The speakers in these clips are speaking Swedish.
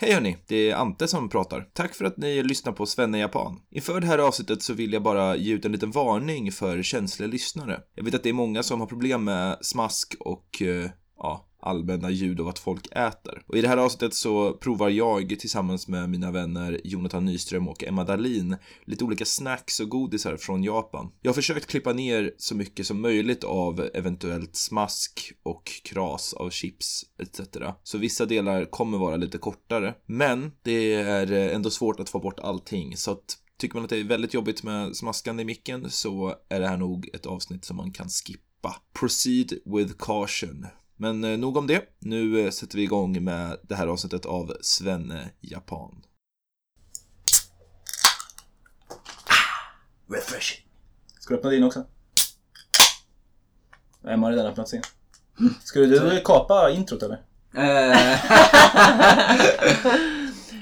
Hej hörni, det är Ante som pratar. Tack för att ni lyssnar på Svenne Japan. Inför det här avsnittet så vill jag bara ge ut en liten varning för känsliga lyssnare. Jag vet att det är många som har problem med smask och eh, ja, allmänna ljud av att folk äter. Och i det här avsnittet så provar jag tillsammans med mina vänner Jonathan Nyström och Emma Dahlin lite olika snacks och godisar från Japan. Jag har försökt klippa ner så mycket som möjligt av eventuellt smask och kras av chips etc. Så vissa delar kommer vara lite kortare. Men det är eh, ändå svårt att få bort allting så att tycker man att det är väldigt jobbigt med smaskande i micken så är det här nog ett avsnitt som man kan skippa. Proceed with caution. Men eh, nog om det. Nu eh, sätter vi igång med det här avsnittet av Svenne Japan. Refreshing. Ska du öppna din också? Emma har redan öppnat sin. Skulle du kapa introt eller? Eh.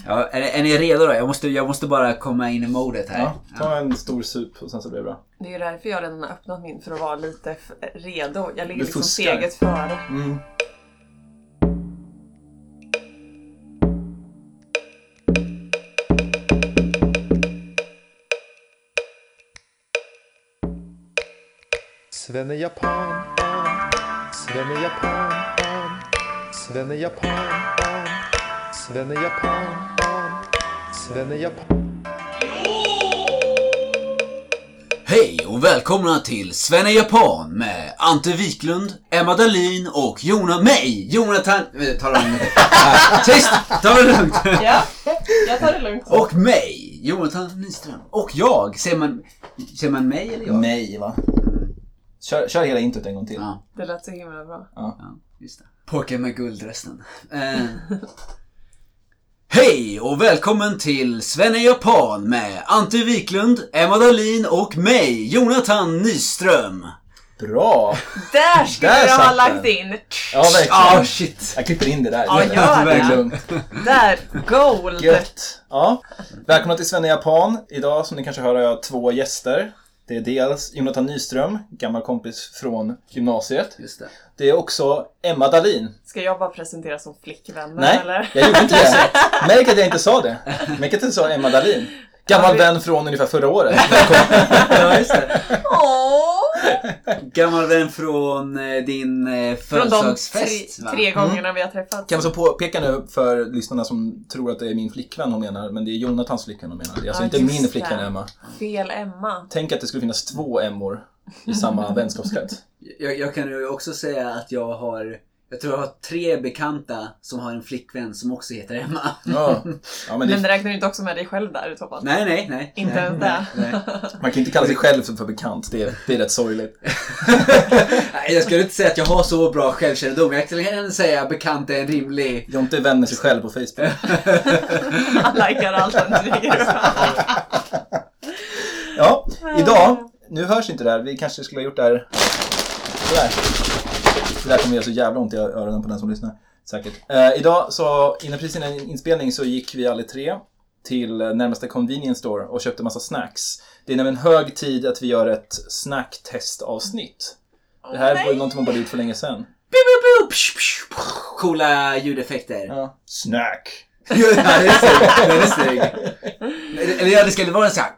ja, är, är ni redo då? Jag måste, jag måste bara komma in i modet här. Ja, ta en stor sup och sen så blir det bra. Det är ju därför jag redan har öppnat min för att vara lite f- redo. Jag ligger Du liksom fuskar. steget före. Svenne Japan, Svenne Japan, Svenne Japan, Svenne Japan, Svenne Japan. Hej och välkomna till Svenne Japan med Ante Wiklund, Emma Dahlin och Jona, mig, Jonathan... eh, Ta det lugnt. Ah, Tyst! Ta det lugnt. Ja, jag tar det lugnt. Och mig, Jonathan Nyström. Och jag. Ser man, ser man mig eller jag? Nej va? Kör, kör hela introt en gång till. Ja, Det lät så himla bra. ja, just det. Pojken med guldrösten. Eh, Hej och välkommen till Svenne Japan med Ante Wiklund, Emma Dahlin och mig, Jonathan Nyström. Bra! Där skulle Där jag ha satt lagt den. in! Ja verkligen. Ah shit. Jag klipper in det där. Ja, gör det. Verkligen. Där! Gold! Gött! Ja. Välkomna till Svenne Japan. Idag som ni kanske hör har jag två gäster. Det är dels Jonathan Nyström, gammal kompis från gymnasiet. Just det. Det är också Emma Dahlin. Ska jag bara presentera som flickvänner Nej, eller? jag gjorde inte det. Märk att jag inte sa det. Märk att jag sa Emma Dahlin. Ja, Gammal vi- vän från ungefär förra året. Ja, just det. Åh! Gammal vän från eh, din eh, Från de tre, födelsedagsfest va? tre Mm. gångerna vi har träffats. Kan jag så påpeka nu för lyssnarna som tror att det är min flickvän hon menar, men det är Jonathans flickvän hon menar. Det är alltså Ja, inte just min flickvän det. Emma. Fel Emma. Tänk att det skulle finnas två Emmor i samma vänskapskrets. Jag, jag kan ju också säga att jag har jag tror jag har tre bekanta som har en flickvän som också heter Emma. Ja. Ja, men det, Men räknar du inte också med dig själv där i toppen? Nej, nej, nej. Inte nej, ens det. nej, nej. man kan inte kalla sig själv för bekant, det är, det är rätt sorgligt. Nej, Jag skulle inte säga att jag har så bra självkännedom. Jag kan säga att bekant är en rimlig... Jonte vänner sig själv på Facebook. Alla likar allt han dricker fram. Ja, idag, nu hörs inte det här, vi kanske skulle ha gjort det här sådär. Det där kommer göra så jävla ont i öronen på den som lyssnar. Säkert. Eh, idag så, innan precis innan inspelning så gick vi alla tre till eh, närmaste convenience store och köpte massa snacks. Det är nämligen hög tid att vi gör ett snacktestavsnitt. Det här var ju någonting man borde ha gjort för länge sedan. Coola ljudeffekter. Ja. Snack! Ja, den är snygg. Den är snygg. Eller ja, det skulle vara en sån här...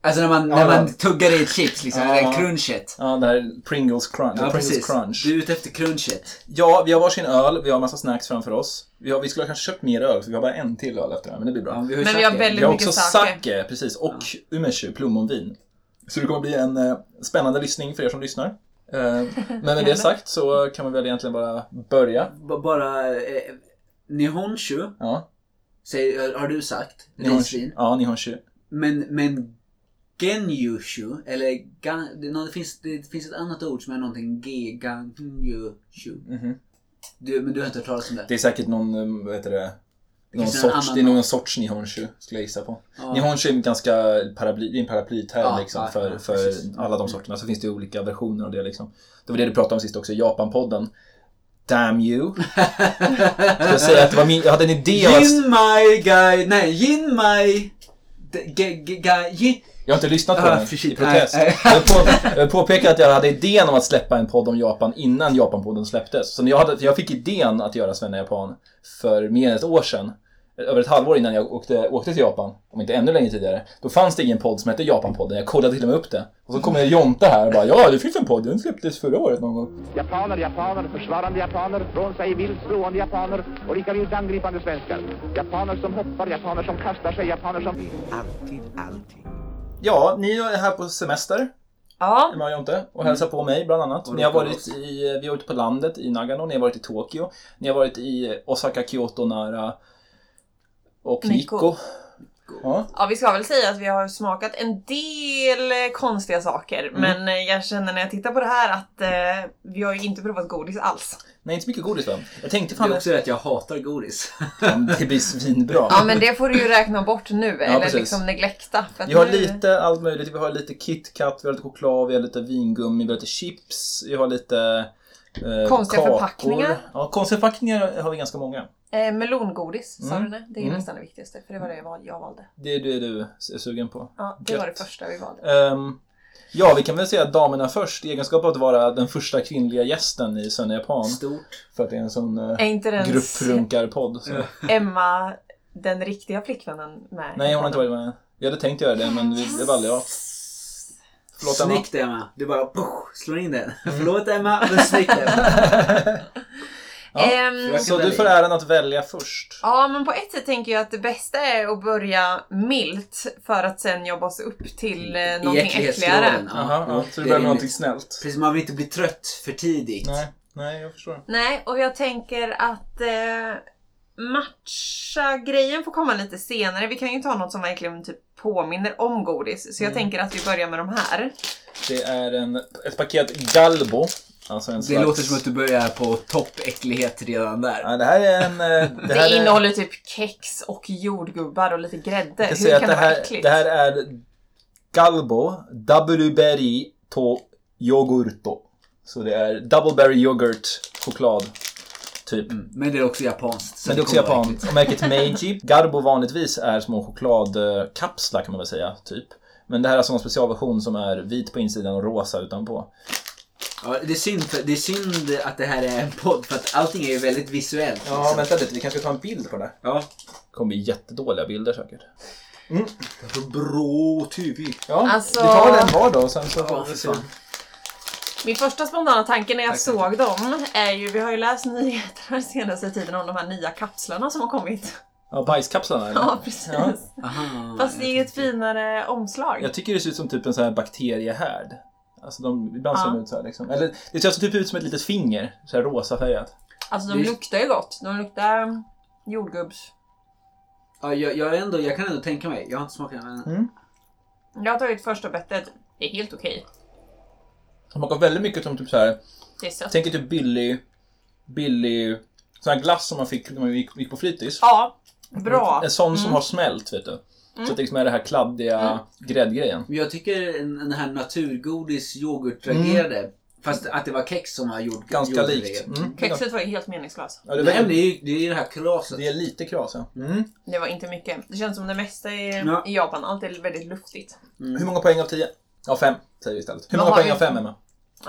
Alltså när man, när Ja. man tuggar i ett chips liksom. Ja. Det där crunchet. Ja, det här är Pringles crunch. Ja, Pringles precis. crunch. Du är ute efter crunchet. Ja, vi har varsin öl, vi har massa snacks framför oss. Vi, har, vi skulle ha kanske köpt mer öl, för vi har bara en till öl efter det här, men det blir bra. Ja, vi Men vi sagt har det. väldigt Vi har mycket också sake. sake, precis, och umeshu, plommonvin. Så det kommer bli en eh, spännande lyssning för er som lyssnar. Eh, men med det sagt så kan vi väl egentligen bara börja. B- bara... Eh, Nihonshu, Ja, säger, har du sagt. nihonshu. Risvin. Ja, nihonshu. Men, men Genjushu, eller gan, det, nå- det, finns, det finns ett annat ord som är någonting. G, ganjushu. Mhm. Du, men du har inte hört talas om det? Det är säkert någon, eh, vad heter det? Någon kanske är en sorts, annan det är någon sorts nihonshu, skulle jag gissa på. Ja. Nihonshu är en ganska paraply, det är en paraplyterm Ja, liksom, ja, för, ja, för precis. Mm. alla de sorterna. Så finns det ju olika versioner av det liksom. Det var det du pratade om sist också, i Japanpodden. Damn you. Ska jag säga att det var min, jag hade en idé av att Jinmai guy, nej Jinmai... de- ge- ge- ga- ji- Jag har inte lyssnat på Ah, den för shit. i protest. Nej, nej. Jag vill på, jag vill påpeka att jag hade idén om att släppa en podd om Japan innan Japanpodden släpptes. Så när jag, hade, jag fick idén att göra Svenne Japan för mer än ett år sedan. över ett halvår innan jag åkte, åkte till Japan, om inte ännu längre tidigare, då fanns det ingen podd som hette Japanpodden. Jag kollade till och med upp det. Och så kommer Jonte här och bara ja, det finns en podd, den släpptes förra året någon gång. Japaner, japaner, försvarande japaner, från sig vilt slående japaner och lika vilt angripande svenskar. Japaner som hoppar, japaner som kastar sig, japaner som... Alltid, alltid. Ja, ni är här på semester, Ja, Emma och Jonte, och Mm. hälsar på mig bland annat. Ni har varit i, eh, vi har varit på landet i Nagano, ni har varit i Tokyo, ni har varit i Osaka, Kyoto, Nara och Nikko. Nikko. Ja. ja, vi ska väl säga att vi har smakat en del eh, konstiga saker. Men eh, jag känner när jag tittar på det här att eh, vi har ju inte provat godis alls. Nej, inte så mycket godis va? Jag tänkte Det fan är också det att jag hatar godis. att det blir svinbra. Ja, men det får du ju räkna bort nu. eller precis. liksom neglekta. För att Vi har nu- lite allt möjligt. Vi har lite KitKat, vi har lite choklad, vi har lite vingummi, vi har lite chips, vi har lite eh, Konstiga förpackningar. Ja, konstiga förpackningar har vi ganska många. Eh, melongodis, sa du det? Det är ju Mm. nästan det viktigaste. För det var det jag val- jag valde. Det är det du är sugen på. Ja, det var det Gött. första vi valde. Ehm, ja, vi kan väl säga damerna först i egenskap av att vara den första kvinnliga gästen i Svenny Japan. Stort. För att det är en sån eh, Är inte ens grupprunkarpodd. så. Emma, den riktiga flickvännen, med? Nej, hon har inte varit med. Vi hade tänkt göra det, men vi- det valde jag. Förlåt, Emma. Mm. Snyggt Emma. Du bara puff, slår in den. Förlåt Emma, men snyggt Emma. Ehm, Så du får äran att välja först. Ja, men på ett sätt tänker jag att det bästa är att börja milt för att sen jobba sig upp till eh, någonting äckligare. äcklighetsgraden. Ja, Aha, ja, jo, så det det är blev rimligt. någonting snällt. Precis, man vill inte bli trött för tidigt. Nej, nej, jag förstår. Nej, och jag tänker att eh, matcha-grejen får komma lite senare. Vi kan ju ta något som verkligen typ påminner om godis. Så jag tänker att vi börjar med de här. Mm. Det är en, ett paket Galbo. Alltså en Det låter som att du börjar på toppäcklighet redan där. Ja, det här är en... eh, Det, Det här är, innehåller typ kex och jordgubbar och lite grädde. jag kan Hur säga kan att det, det vara här, äckligt? det här är Galbo Double Berry to Yogurto. Så det är Double Berry Yoghurt choklad. Typ. Men det är också japanskt. så Men det är också kommer vara japan. Och märket Meiji. Garbo vanligtvis är små chokladkapslar kan man väl säga, typ. Men det här är alltså en specialversion som är vit på insidan och rosa utanpå. Ja, det, är synd för, det är synd att det här är en podd för att allting är ju väldigt visuellt. Ja, liksom. vänta lite. Vi kanske tar en bild på det. ja. Det kommer bli jättedåliga bilder säkert. Bra TV. Ja, Alltså- vi tar den var då och sen så får Ja, vi för se. fan. Min första spontana tanke när jag såg dem är ju, vi har ju läst nyheter den senaste tiden om de här nya kapslarna som har kommit. Ja, bajskapslarna eller? Ja, precis. Ja. Aha. Fast det är ju ett finare omslag. Jag tycker det ser ut som typ en sån här bakteriehärd. Alltså de, ibland ser Ja. de ut så här liksom. Eller det ser alltså typ ut som ett litet finger. Så här rosa färgat. Alltså de det- luktar ju gott. De luktar mm, jordgubbs. Ja, jag, jag, är ändå, jag kan ändå tänka mig. Jag har inte smakat den. Men... Jag har tagit första bettet. Det är helt okej. De smakar väldigt mycket som typ så här. Det är sött. Jag tänker typ billig, billig, sån här glass som man fick när man gick, gick på fritids. Ja, bra. Mm. En sån som har smält vet du. Så att det liksom är det här kladdiga gräddgrejen. Men jag tycker en- den här naturgodis yoghurt reagerade. Fast att det var kex som har gjort Mm. Ganska gjort likt. det. Mm. Kexet var ju helt meningslöst. Ja, det, är Nej, men det väldigt, är ju det, är ju det här kalaset. det är lite kras ja. Mm. Det var inte mycket. Det känns som det mesta i, Ja. i Japan. Allt är väldigt luftigt. Mm. Hur många poäng av tio? Ja, fem säger vi istället. Hur Vad många har poäng vi? av fem Emma?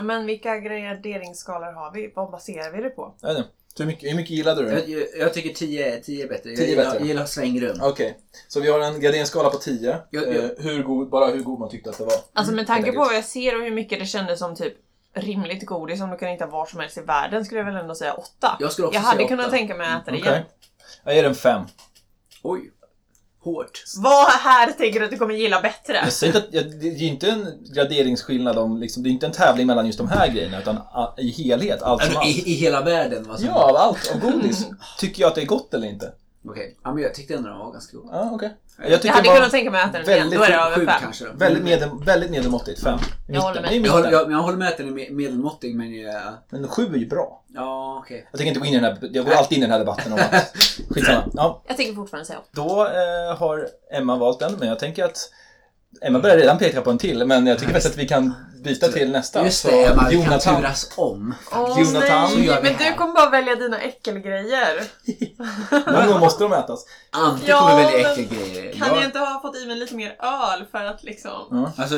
Men vilka graderingsskalor har vi? Vad baserar vi det på? Jag vet inte. Så Hur mycket, hur mycket gillade du det? Jag, jag, jag tycker 10 10 är bättre. Jag, 10 är bättre. jag gillar svängrum. Okej, så vi har en graderingsskala på 10. Ja, ja. Eh, hur god, bara hur god man tyckte att det var. Alltså Mm, med tanke helt på vad jag ser och hur mycket det kändes som typ rimligt godis som du kan hitta var som helst i världen skulle jag väl ändå säga åtta. Jag skulle också hade säga kunnat åtta. tänka mig att äta det Okej. igen. Jag ger den 5. Oj. Hårt. Vad här tänker du att du kommer gilla bättre? Jag säger inte att, jag, det är ju inte en graderingsskillnad om, liksom, det är inte en tävling mellan just de här grejerna utan a, i helhet, allt som Alltså, allt. i, I hela Mm. världen. Vad som- Ja, av allt, av godis. Tycker jag att det är gott eller inte? Okej. Ja, men jag tyckte ändå den var ganska god. Ja, okej. Jag det hade var kunnat tänka mig att äta den igen, väldigt då är det över Sju fem. kanske. då. Mm. Väldigt, medel, väldigt medelmåttigt, 5. Jag håller med. Jag håller, jag, men jag håller med att den är me- medelmåttig men eh, Men 7 är ju bra. ja okej. Jag tänker inte gå in i den här, jag går alltid in i den här debatten om att, skitsamma. Ja, Jag tänker fortfarande säga åtta. Då eh, har Emma valt den, men jag tänker att Emma börjar redan peka på en till, men jag tycker faktiskt att vi kan byta till nästa. Just Så, det, Emma, vi kan Jonathan. turas om. Åh Jonathan, så nej, gör vi men du här. kommer bara välja dina äckelgrejer. Någon gång måste de ätas. Ante Ja, kommer välja men äckelgrejer. Kan Jag, jag inte ha fått i mig lite mer öl för att liksom... alltså,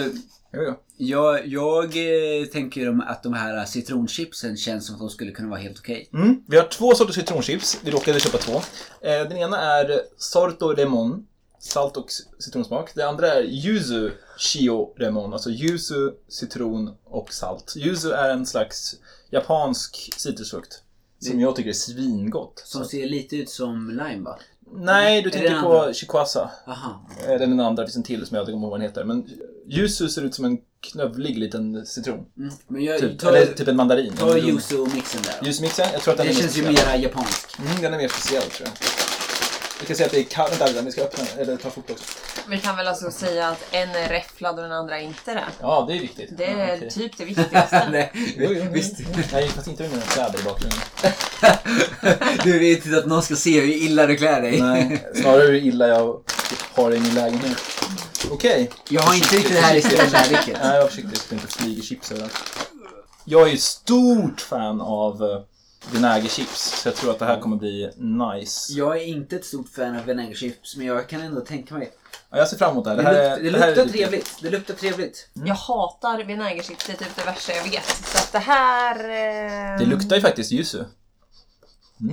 Jo, jo. jag, jag eh, tänker om att de här citronchipsen känns som att de skulle kunna vara helt okej. Mm. Vi har två sorters citronchips. Vi råkade köpa två. Eh, Den ena är Sorto Remon, salt och c- citronsmak. Den andra är Yuzu Shio Remon, alltså yuzu, citron och salt. Yuzu är en slags japansk citrusfrukt. Mm. Som jag tycker är svingott. Som ser lite ut som lime va? Nej, du Är det tänker den på andra? Chikwasa. Aha. Eh, Eller den andra, det finns en till som jag inte kommer ihåg vad den heter. Men yuzu ser ut som en knövlig liten citron. Mm. Men jag Typ. tar, Eller typ en mandarin. tar yuzu och mixen där. Yuzu-mixen, jag tror att den Det är känns ju speciell. mera japansk. Mm, den är mer speciell tror jag. Vi kan säga att det är kallt. Vänta, vänta, vi ska öppna den. Eller ta foto också. Vi kan väl alltså säga att en är räfflad och den andra är inte det. Ja, det är viktigt. Det är Ja, Mm, okej. typ det viktigaste. Nej, Jo, jo, jo. visst. Nej, fast inte under kläder i bakgrunden. Du är inte att någon ska se hur illa du klär dig. Nej, snarare hur illa jag har det i min lägenhet. Okej. Jag har inte riktigt det här i kärleken. Nej, jag var försiktig så att det inte flyger chips överallt. Jag är ju stort fan av eh, vinägerchips, så jag tror att det här kommer bli nice. Jag är inte ett stort fan av vinägerchips, men jag kan ändå tänka mig. Ja, jag ser fram emot det här. Det, Det, här är- luk- det typ- här är luktar lite- trevligt. Det luktar trevligt. Mm. Jag hatar vinägerchips, det är typ det värsta jag vet. Så att det här... Eh, Det luktar ju faktiskt yuzu.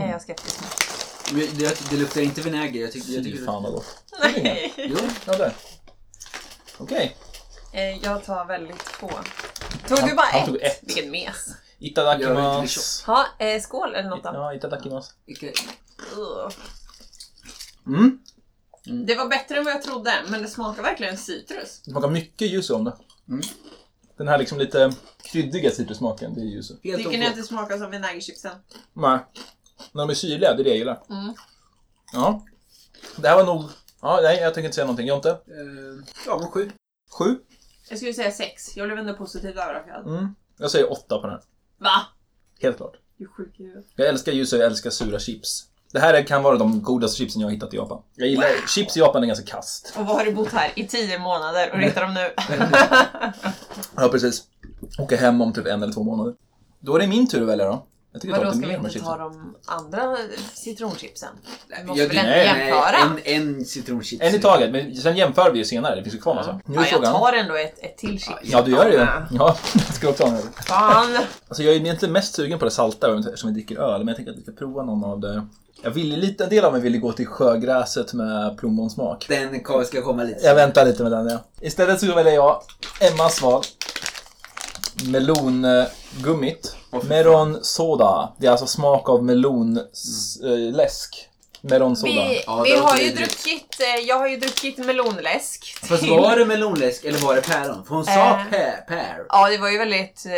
Är jag skeptisk mot. Men Det, det luktar inte vinäger. Jag tycker, jag Fy tycker fan vad gott. Nej. Jo, Ja, där. Okej. Eh, jag tar väldigt få. Tog du bara han ett? tog ett. Vilket mes. Jag är inte så Itadakimasu. tjock. Ha, eh, skål eller något då. Ja, itadakimasu. vilka- Ugh. Mm. Det var bättre än vad jag trodde, men det smakar verkligen citrus. Det smakar mycket yuzu om det. Mm. Den här liksom lite kryddiga citrussmaken, det är yuzu. helt Tycker ni att okej. det smakar som vinägerchipsen? Nej. När de är syrliga, det är det jag gillar. Mm. Ja. Det här var nog... Ja, nej, jag tänker inte säga någonting. Jonte? Eh, Ja, men sju. Sju? Jag skulle säga sex. Jag blev ändå positivt överraskad. Mm. Jag säger åtta på den här. Va? Helt klart. Du är sjuk i huvudet. Jag älskar ljus och jag älskar sura chips. Det här kan vara de godaste chipsen jag har hittat i Japan. Jag gillar... Chips i Japan är ganska kast. Och vad har du bott här i tio månader och ritar dem nu? Ja, precis. Åka hem om typ en eller två månader. Då är det min tur att välja då. Jag tycker Vadå, jag tar ska lite vi mer av de här chipsen. inte ta de andra citronchipsen? Vi måste Jag- väl ändå nej, jämföra? En, en citronchips. En i taget, men sen jämför vi ju senare. Det finns ju kvar massa. Nu är ja, jag frågan... tar ändå ett, ett till chips. Ja, du gör det ju. Ja, jag ska också ha en öl. Fan! Alltså jag är egentligen mest sugen på det salta eftersom vi dricker öl, men jag tänker att vi ska prova någon av det. Jag ville lite, en del av mig ville gå till sjögräset med plommonsmak. Den kom- ska komma lite Jag väntar lite med den ja. Istället så väljer jag Emmas val. Melongummit. Meron soda. Det är alltså smak av Mm. eh, melonläsk. Meron soda. Vi, Ja, vi det har låter ju vidrigt. druckit, eh, jag har ju druckit melonläsk. Fast till- var det melonläsk eller var det päron? För hon sa Eh. pär. pär. Ja, det var ju väldigt, eh,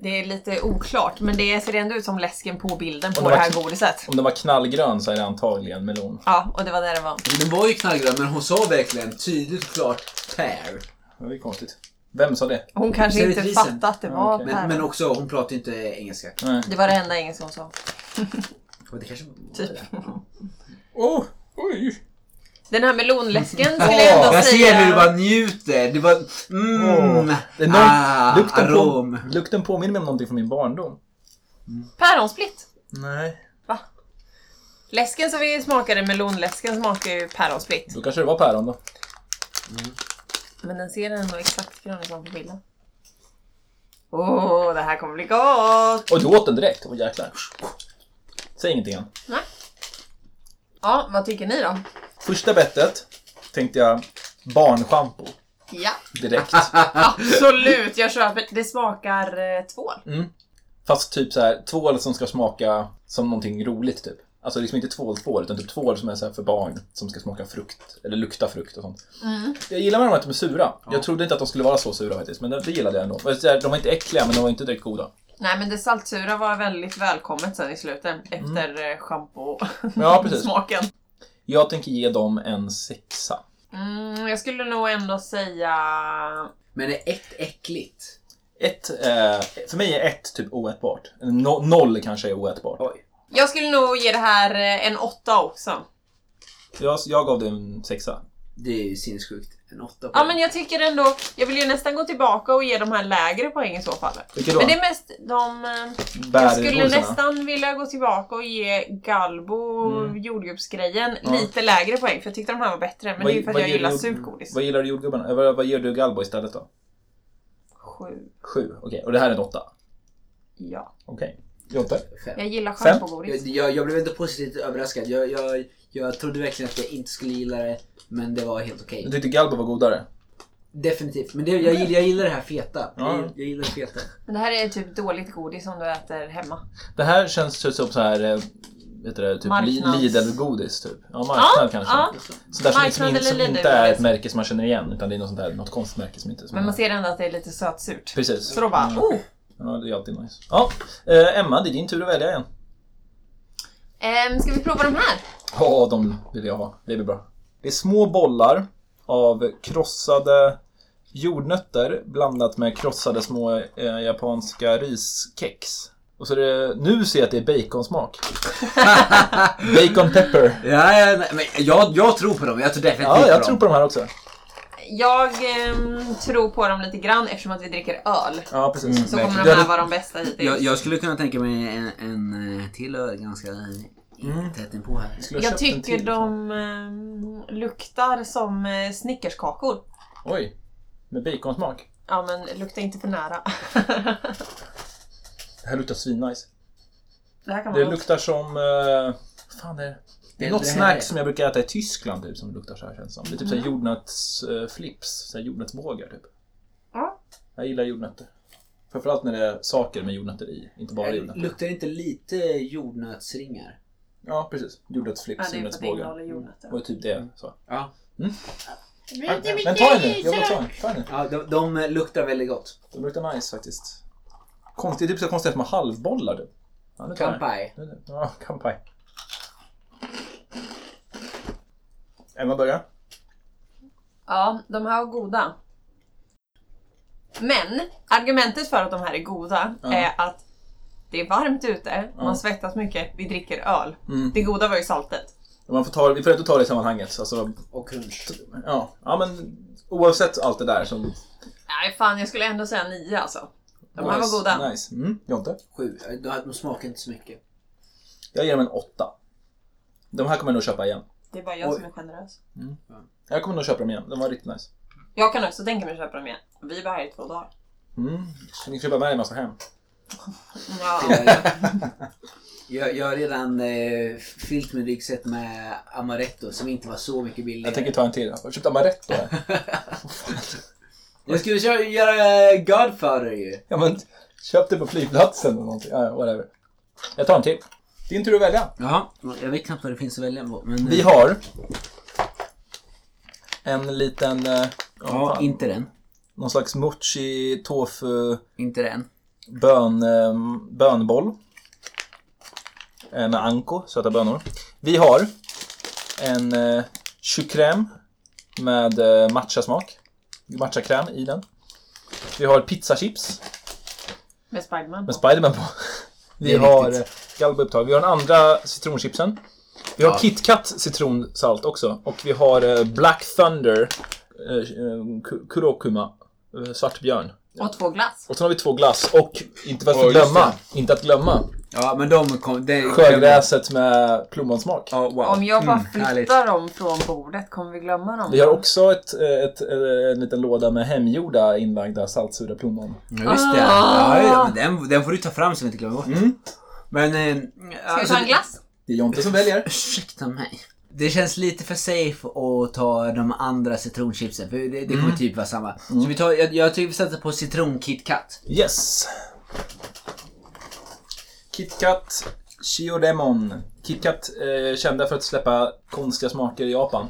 det är lite oklart, men det ser ändå ut som läsken på bilden Och på det det var här kn- godiset. Om den var knallgrön så är det antagligen melon. Ja, och det var där det var. Den var ju knallgrön men hon sa verkligen tydligt och klart pär. Det var ju konstigt. Vem sa det? Hon kanske Ser det inte grisen? fattade att det Ja, var okej. päron. Men, men också, hon pratar ju inte engelska. Nej. Det var det enda engelska hon sa. Och det kanske var Typ. det. Oh, oj! Den här melonläsken skulle jag ändå Mm. Jag säga... ser hur du bara njuter. Det var... Mm. Åh, Det är någon, ah, lukten, arom. på, lukten påminner mig om någonting från min barndom. Päronsplitt! Nej. Läsken som vi smakade, melonläsken, smakar ju päronsplitt. Då kanske det var päron då. Men den ser ändå exakt grön ut som på bilden. Åh, det här kommer bli gott! Och du åt den direkt. Åh jäklar. Säg ingenting än. Nej. Ja, vad tycker ni då? Första bettet tänkte jag barnschampo Ja. direkt. Absolut, jag köper. Det smakar eh, tvål. Mm. Fast typ så här tvål som ska smaka som någonting roligt typ. Alltså liksom inte tvål tvål utan typ tvål som är så här för barn som ska smaka frukt eller lukta frukt och sånt. Jag gillar med dem att de är sura. Jag trodde inte att de skulle vara så sura faktiskt men det det gillade jag ändå. Och så här, De var inte äckliga men de var inte direkt goda. Nej men det saltsura var väldigt välkommet sen i slutet efter mm. schampo-smaken. Ja precis. Jag tänker ge dem en sexa. Mm, jag skulle nog ändå säga... Men det är ett äckligt. Ett, eh, för mig är ett typ oätbart. No, noll kanske är oätbart. Oj. Jag skulle nog ge det här eh, en åtta också. Jag, jag gav det en sexa. Det är ju sinnessjukt. En åtta på Ja men jag tycker ändå, jag vill ju nästan gå tillbaka och ge de här lägre poäng i så fall. Vilka då? Men det är mest de... eh, Jag Bär- skulle rosorna. nästan vilja gå tillbaka och ge Galbo jordgubbsgrejen Mm. Ja. lite lägre poäng för jag tyckte de här var bättre. Men Vad- det är ju för att vad jag ger gillar du- surt godis. Vad gillar du jordgubbarna? Eh, Vad, vad ger du Galbo istället då? Sju. Sju, okej. Och det här är en åtta? Ja. Okej. Jonte? fem. Jag gillar Fem? Jag, schampogodis. jag, jag blev inte positivt överraskad. Jag, jag, jag trodde verkligen att jag inte skulle gilla det, men det var helt okej. Du tyckte Galbo var godare? Definitivt. Men det, jag, gillar, jag gillar det här feta. Ja. Jag, gillar- jag gillar det feta. Men det här är typ dåligt godis som du äter hemma. Det här känns som så här, eh, vet du det, typ Marknads- Li- Lidl-godis typ. Ja, marknad kanske. Ja. Så där som, liksom Marknad in, eller som inte Lidl, är ett liksom. märke som man känner igen, utan det är något sånt där, något konstmärke som inte... Som Men man ser ändå att det är lite sötsurt. Precis. Mm. Så då bara, oh! Ja, det är alltid nice. Ja, eh, Emma, det är din tur att välja igen. Ehm, ska vi prova de här? Ja, de vill jag ha. Det blir bra. Det är små bollar av krossade jordnötter blandat med krossade små eh, japanska riskex. Och så är det, nu ser jag att det är baconsmak. Bacon pepper. Ja, ja, nej, men jag, jag tror på dem. Jag tror definitivt Ja, jag på tror dem. på de här också. Jag ehm, tror på dem lite grann eftersom att vi dricker öl. Ja, precis. Så kommer de Jag här hade- vara de bästa hittills. Jag, jag skulle kunna tänka mig en, en eh, till öl ganska mm. tätt inpå här. skulle ha Jag köpt en tycker till. liksom. de ehm, luktar som eh, snickerskakor. Oj, med baconsmak. Ja men lukta inte för nära. Det här luktar svinnice. det här kan Det man lukta. luktar som... eh, fan det är det? är något det här är- snack som jag brukar äta i Tyskland typ, som luktar så här känns det som. Det är typ så Mm. här jordnötsflips, så här jordnötsbågar typ. Ja. Jag gillar jordnötter. Framförallt när det är saker med jordnötter i, inte bara jordnötter. Eh, Luktar det inte lite jordnötsringar? Ja, precis. Ja, Jordnötsflips, det är för att det jordnötsbågar. innehåller jordnötter. Och typ det. Så. Ja. Men ta en nu! Jag vill ta en. Ta en nu. ja de, de eh, luktar väldigt gott. De luktar nice faktiskt. Konstigt, typ så konstigt att man halvbollar typ. Ja, nu tar jag. Kampai. Nu, nu. Ja, kampai. Emma börjar. Ja, de här var goda. Men argumentet för att de här är goda Ja. är att det är varmt ute, Ja. man svettas mycket, vi dricker öl. Mm. Det goda var ju saltet. Man får ta, vi får ändå ta det i sammanhanget. Alltså, Och crunch. ja. ja, men oavsett allt det där som... Nej fan, jag skulle ändå säga nio alltså. De här var goda. Nice. Mm. Jonte? Sju. Eh, De, de smakar inte så mycket. Jag ger dem en åtta. De här kommer jag nog köpa igen. Det är bara jag Oj. som är generös. Jag kommer nog köpa dem igen. De var riktigt nice. Jag kan också tänka mig att köpa dem igen. Vi var här i två dagar. Mm. Så ni köpa med er massa hem. Ja. Jag, Eh, jag, jag har redan eh, fyllt min ryggsäck med Amaretto som inte var så mycket billigare. Jag tänker ta en till. Jag har köpt amaretto här. Jag skulle köra, göra Godfather ju. Ja, men köp det på flygplatsen eller någonting. Ja, ja, whatever. Jag tar en till. Din tur att välja. Jaha. Jag vet knappt vad det finns att välja på. Men, Vi har en liten... eh, ja, fan, inte den. Någon slags mochi tofu Inte den. bön, eh, bönboll. Eh, Med anko, söta bönor. Vi har en eh, choucrème med eh, matchasmak. Matchakräm i den. Vi har pizzachips Med Spiderman. med Spiderman på. Vi är har riktigt. eh, Galbo upptag. Vi har den andra citronchipsen. Vi har KitKat citronsalt också. Och vi har eh, Black Thunder eh, eh, Ku- Kurokuma. eh, Svartbjörn. Och två glass. Och sen har vi två glass och, inte att Ja, just glömma, inte att glömma, Ja, men de kom... Det, sjögräset med plommonsmak. Ja, wow. Om jag Mm, bara flyttar härligt. dem från bordet, kommer vi glömma dem? Mm, Vi har också ett, ett, en liten låda med hemgjorda inlagda saltsura plommon. Ja, Just det. Ah. Ja, ja, men den, den får du ta fram så vi inte glömmer bort. Mm. Men... Eh, Ska Alltså, vi ta en glass? Det är Jonte som väljer. Ursäkta mig. Det känns lite för safe att ta de andra citronchipsen för det, det kommer typ vara samma. Så vi tar, jag, jag tycker vi sätter på citronkitkat. Yes! KitKat Shioremon. KitKat eh, kända för att släppa konstiga smaker i Japan.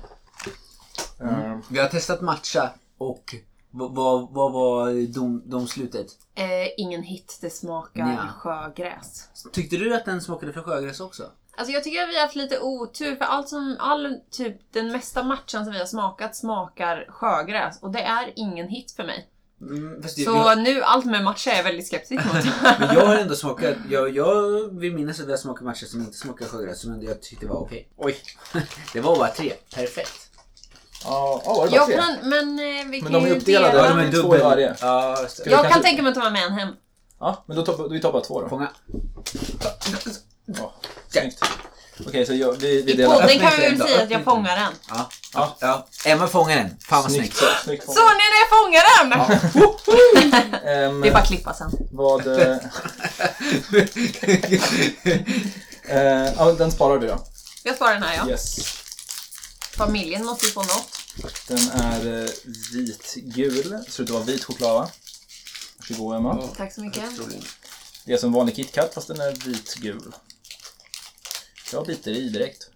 Eh, Vi har testat matcha och vad vad- vad var dom, domslutet? Eh, ingen hit, det smakar Nja. sjögräs. Tyckte du att den smakade för sjögräs också? Alltså jag tycker att vi har haft lite otur för allt som, all, typ den mesta matchen som vi har smakat smakar sjögräs och det är ingen hit för mig. Mm, fast Så jag, nu allt med matcha är jag väldigt skeptisk mot. men jag har ändå smakat, jag, jag vill minnas att vi har smakat matcha som inte smakar sjögräs som ändå jag tyckte var okej. Oj, det var bara tre. Perfekt. Ja, ja, var det bara Jag tre? kan, men eh, vi Men kan de är ju uppdelade. dela. Ja, de är dubbel. Två i varje. Ja, just det. vi Jag kan kanske- tänka mig att ta med mig en hem. Ja, men då tar vi tar bara två då. Fånga. Ja, snyggt. Okej, så jag, vi, vi I delar. podden öppning kan vi väl till den då, säga att öppning jag fångar den. Ja. Ja. ja. Emma fångar den. Fan vad Snyggt. snyggt. Snyggt. Såg ni när jag fångade den? Ehm, Det är bara att klippa sen. Vad... eh, eh, ja, den sparar du ja. Jag sparar den här ja. Yes. Familjen måste ju få något. Den är eh, vitgul. Ser ut att vara vit choklad va? Varsågod Emma. Tack så mycket. Det är som vanlig KitKat fast den är vitgul. Jag biter i direkt.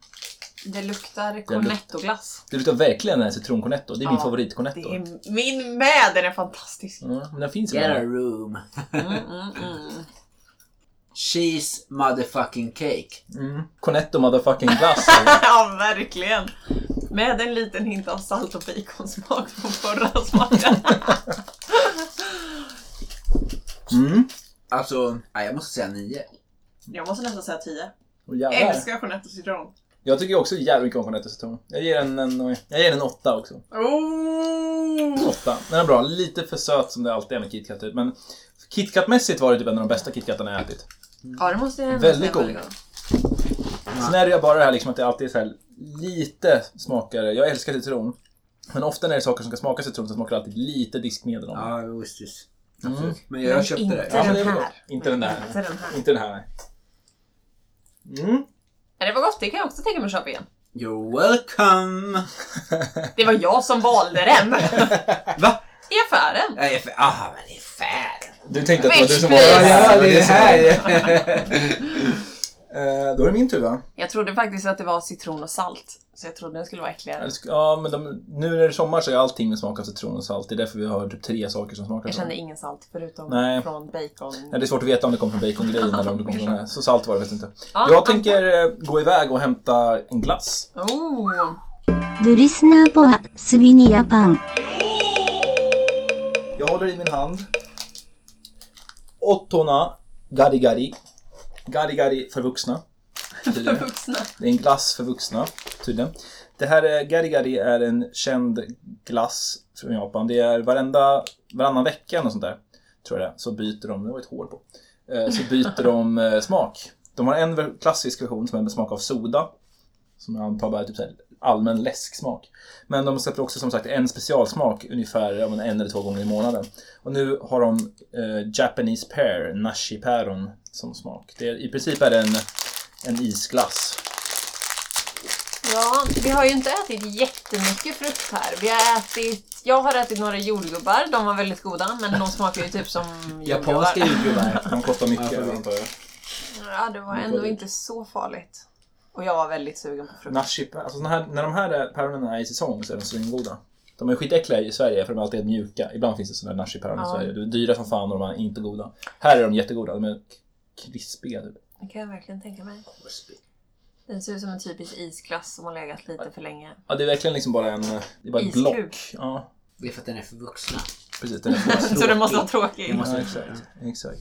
Det luktar cornettoglass. Det luktar verkligen den här citroncornetto. Det är min Ja, Det favoritcornetto. är min med, den är fantastisk. Mm, men den finns i Get a den. room. Mm, mm, mm. Cheese motherfucking cake. Mm. Cornetto motherfucking glass. Ja, verkligen. Med en liten hint av salt och baconsmak från förra smaken. Mm. Alltså, nej, jag måste säga nio. Jag måste nästan säga 10. Och jävlar. Älskar Jeanette och citron. Jag tycker också jävligt mycket om cornetto citron. Jag ger den en, oj, jag ger den en åtta också. Oh! Åtta. Den är bra. Lite för söt som det alltid är med KitKat. typ, Men KitKat-mässigt var det typ en av de bästa KitKatarna jag ätit. Ja, det måste jag ändå Väldigt säga. god. Sen är det ju bara det här liksom att det alltid är så här lite smakar, jag älskar citron. Men ofta när det är saker som ska smaka citron så smakar det alltid lite diskmedel om det. Ja, jo, visst. visst. Mm. Absolut. Men jag Men köpte inte- det. Ja, men det är den väl här. gott. Inte den där. Inte den här. Inte den här. nej. Mm. Ja, det var gott, det kan jag också tänka mig att köpa igen. You're welcome! Det var jag som valde den. Va? I affären. Nej, för, aha, men det är fair. Du tänkte att det var du som var Bitch, Ja, ja, please. var det du är som här. var- Eh, Då är det min tur va? Jag trodde faktiskt att det var citron och salt. Så jag trodde den skulle vara äckligare. Eller ska- Ja, men de, nu när det är sommar så är allting med smak av citron och salt. Det är därför vi har typ tre saker som smakar Jag så. kände ingen salt förutom Nej. från bacon. Nej, det är svårt att veta om det kom från bacongrejen eller om det kom från den här. Så salt var det, vet inte. Ja, Jag tänker eh, gå iväg och hämta en glass. Oh. Du lyssnar på Svinja Pan. Jag håller i min hand. Ottona Gari Gari. Gari Gari för vuxna. För tydligen. vuxna. Det är en glass för vuxna, tydligen. Det här är, Gari Gari är en känd glass från Japan. Det är varenda, varannan vecka och sånt där, tror jag det är, så byter de, det var ett hål på, Eh, så byter de eh, smak. De har en ver- klassisk version som är med smak av soda, som jag antar bara är typ så här allmän läsksmak. Men de släpper också som sagt en specialsmak ungefär ja, men en eller två gånger i månaden. Och nu har de eh, Japanese pear, nashi-päron, som smak. Det är, I princip är det en, en isglass Ja, vi har ju inte ätit jättemycket frukt här. Vi har ätit, jag har ätit några jordgubbar, de var väldigt goda men de smakar ju typ som Japanska jordgubbar. jordgubbar. De kostar mycket Ja, antar jag. Ja, det var ändå inte så farligt. Och jag var väldigt sugen på frukt. Nashi, alltså när, när de här päronen är i säsong så är de svingoda. De är skitäckliga i Sverige för de är alltid mjuka. Ibland finns det sådana här nashi-päron i Ja. Sverige. De är dyra som fan och de är inte goda. Här är de jättegoda. De är k- krispiga typ. Det kan jag verkligen tänka mig. Den ser ut som en typisk isglass som har legat lite för länge. Ja, det är verkligen liksom bara en... Det är bara ett Iskub. block. Ja, Det är för att den är för vuxna. precis. Den är bara Så tråkig. den måste vara tråkig. måste- ja, exakt. exakt.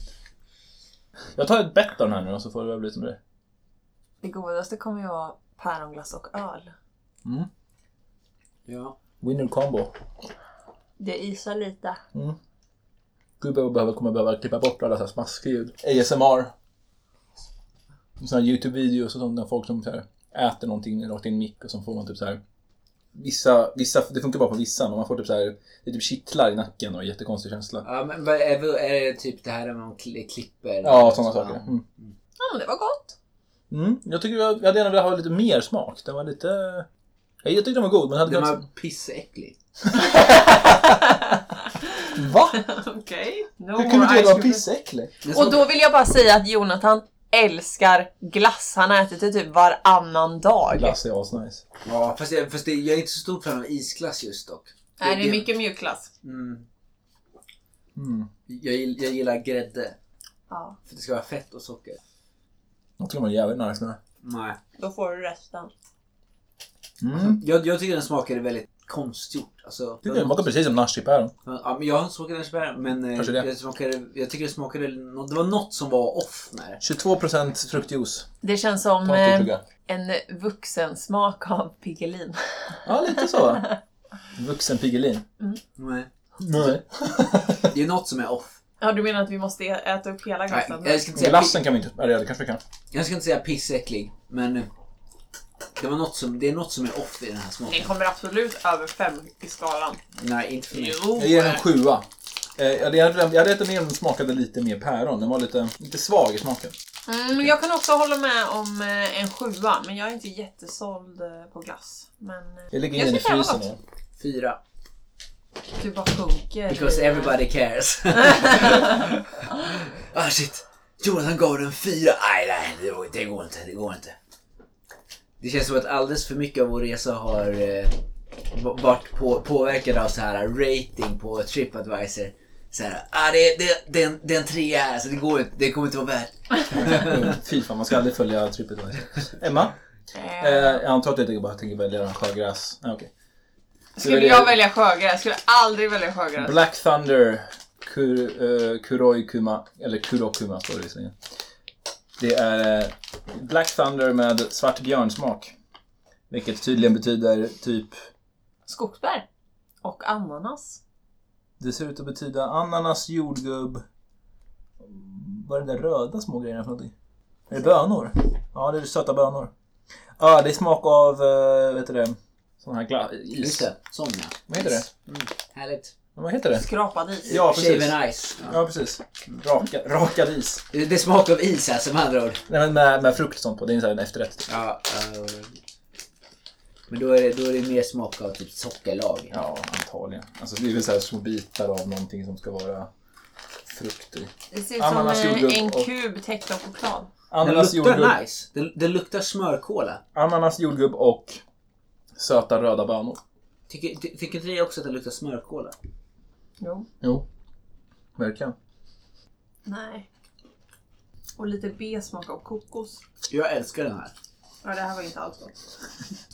Jag tar ett bett av den här nu och så får det väl bli som det är. Det godaste kommer ju vara päronglass och öl. Ja. Winner combo. Det isar lite. Gubben behöver, kommer behöva klippa bort alla så här smaskljud. ASMR. Sådana YouTube-videos och sånt där folk som så här, äter någonting rakt in i en mick och så får man typ så här. Vissa, vissa, det funkar bara på vissa, men man får typ så här, det typ kittlar i nacken och jättekonstig känsla. ja, men vad är, vad är det typ det här när man kli- klipper? Ja, sådana saker. Mm. Ja, men det var gott. Mm. Jag tycker jag, jag hade gärna velat ha lite mer smak. Den var lite... Jag, jag tyckte den var god, men hade Den kunnat... var pissäcklig. Va? Okej. Hur kunde det vara pissäcklig? Den Och smakar- då vill jag bara säga att Jonathan älskar glass. Han har ätit det typ varannan dag. Glass är asnice. Ja, fast, jag, fast det, jag är inte så stor fan av isglass just dock. Nej, det är mycket mjukglass. Mm, Mm. jag, gill- jag gillar grädde. Ja, För det ska vara fett och socker. Jag tycker den var jävligt nice den här. Nej. då får du resten. Mm. Jag, jag tycker den smakade väldigt konstgjort. Alltså, Tycker den smakar precis som nachipäron. Ja, men jag har inte smakat näsbär, men eh, Kanske det. jag, smakade, jag tycker det smakade... nå- Det var något som var off med det. 22% fruktjuice. Det känns som Ta en stor eh, tugga. en vuxen smak av Piggelin. Ja, lite så. Vuxen Piggelin. Nej. Nej. Det är något som är off. Ja, du menar att vi måste ä- äta upp hela Nej, glassen? jag, ska inte säga, Glassen kan vi inte... Eller det kanske vi kan. jag ska inte säga pissäcklig, men eh, det, var något som, det är något som är off i den här Den smaken. kommer absolut över fem i skalan. Nej, inte för mig. Jo! Mm. Jag ger den en sjua. Eh, Jag hade, jag hade ätit mer om den smakade lite mer päron. Den var lite, lite svag i smaken. Mm, jag kan också hålla med om eh, en sjua, men jag är inte jättesåld eh, på glass. Men eh, Jag lägger in Jag den i tycker det var frysen gott. igen. Fyra. du bara sjunker. Because i- everybody cares. ah shit. Jonathan gav den fyra. Nej, nej, det går- det går inte. Det går inte. Det känns som att alldeles för mycket av vår resa har eh, va- varit på, påverkad av så här rating på Tripadvisor. Så här, ah, det, det, det, är en- det är en trea här så det går inte. Det kommer inte vara värt. Mm, Fy fan, man ska aldrig följa TripAdvisor. Emma? Eh, Eh, jag antar att du bara tänker välja sjögräs. Ah, okej. Skulle jag välja sjögräs? Jag skulle aldrig välja sjögräs. Black Thunder Kur, eh, Kuroi Kuma, eller Kurokuma står det visserligen. Det är eh, Black Thunder med svart björnsmak. Vilket tydligen betyder typ, Skogsbär. Och ananas. det ser ut att betyda ananas, jordgubb. Vad är det där röda små grejerna för någonting? Är det bönor? Ja, det är söta bönor. Ja, det är smak av, eh, vet du det, sån här gla- Just is. det. Sån ja. Mm, Vad heter det? Härligt. Ja, Vad heter det? Skrapad is. Ja, precis. Shaven ice. Ja. Ja, precis. Raka, rakad is. Det det är smak av is här som andra ord. Nej, men med, med frukt och sånt på. Det är en sån här efterrätt. Ja, eh, men då är, det, då är det mer smak av typ sockerlag. Ja, antagligen. Alltså det är väl så här små bitar av någonting som ska vara frukt i. Det ser ut Ananas, som eh, jordgubb en och- kub täckt av choklad. Den Ananas, jordgubb, luktar nice. Den, den luktar smörkola. ananas, jordgubb och söta röda bönor. Tycker, ty, tycker inte ni också att den luktar smörkola? Jo. Jo, verkligen. Nej. Och lite B-smak av kokos. Jag älskar den här. Ja, det här var inte alls gott.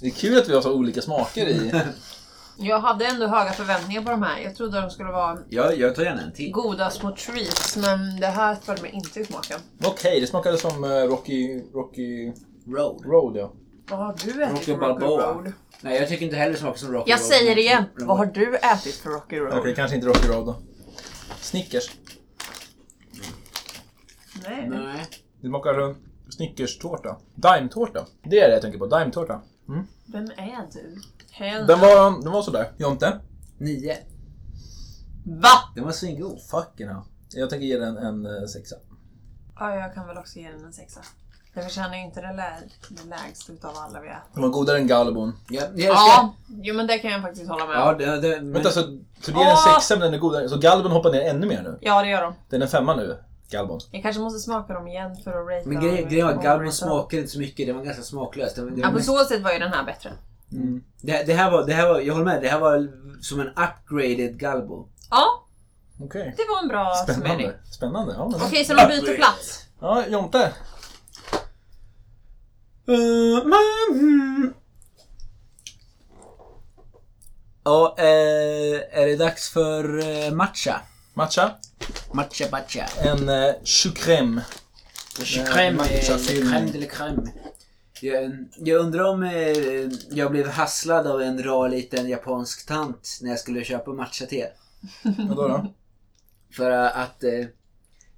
Det är kul att vi har så olika smaker i. Jag hade ändå höga förväntningar på de här. Jag trodde de skulle vara Jag, jag tar gärna en till. goda små treats, men det här föll mig inte i smaken. Okej, det smakade som eh, Rocky, Rocky Road. Road ja. Vad har du ätit Rocky för Rocky Balboa. Road? Nej, jag tycker inte heller det smakar som Rocky Jag Road. säger det igen. Road. Vad har du ätit för Rocky Road? Okej, kanske inte Rocky Road då. Snickers. Nej. Nej. Det smakar eh, Snickers-tårta. Mm. Dime-tårta. Det är det jag tänker på. Dime-tårta. Vem är du? Hell. Den var, den var sådär. Jonte? Nio. Va? Den var svingod. Fucking hell. Jag tänker ge den en eh, sexa. Ja, jag kan väl också ge den en sexa. Den förtjänar ju inte det, lä det lägsta utav alla vi äter. Den var godare än Galbon. Jag, jag älskar Ja, jo men det kan jag faktiskt hålla med Ja, om. det, det, men, Vänta, så, så det är en Ah! Åh! sexa men den är godare. Så Galbon hoppar ner ännu mer nu? Ja, det gör de. Den är femma nu, Galbon. Jag kanske måste smaka dem igen för att ratea men dem. grejen grejen var att Galvan Overrated. smakade inte så mycket. Det var ganska smaklöst. Det, var- det, Ja, var på mest- så sätt var ju den här bättre. det, det, här var, det här var, jag håller med, det här var som en upgraded Galbo. Ja, Okej. det var en bra summering. Spännande. Spännande. Ja, men, Okej, så de byter plats. ja Jonte. Uh, Ja, eh, är det dags för eh, matcha? Matcha. Matcha matcha. En eh, choucrème. Crème, matcha eh, film. crème de la crème. Jag, jag undrar om eh, jag blev hasslad av en rar liten japansk tant när jag skulle köpa matcha-te. Vadå då? För att eh,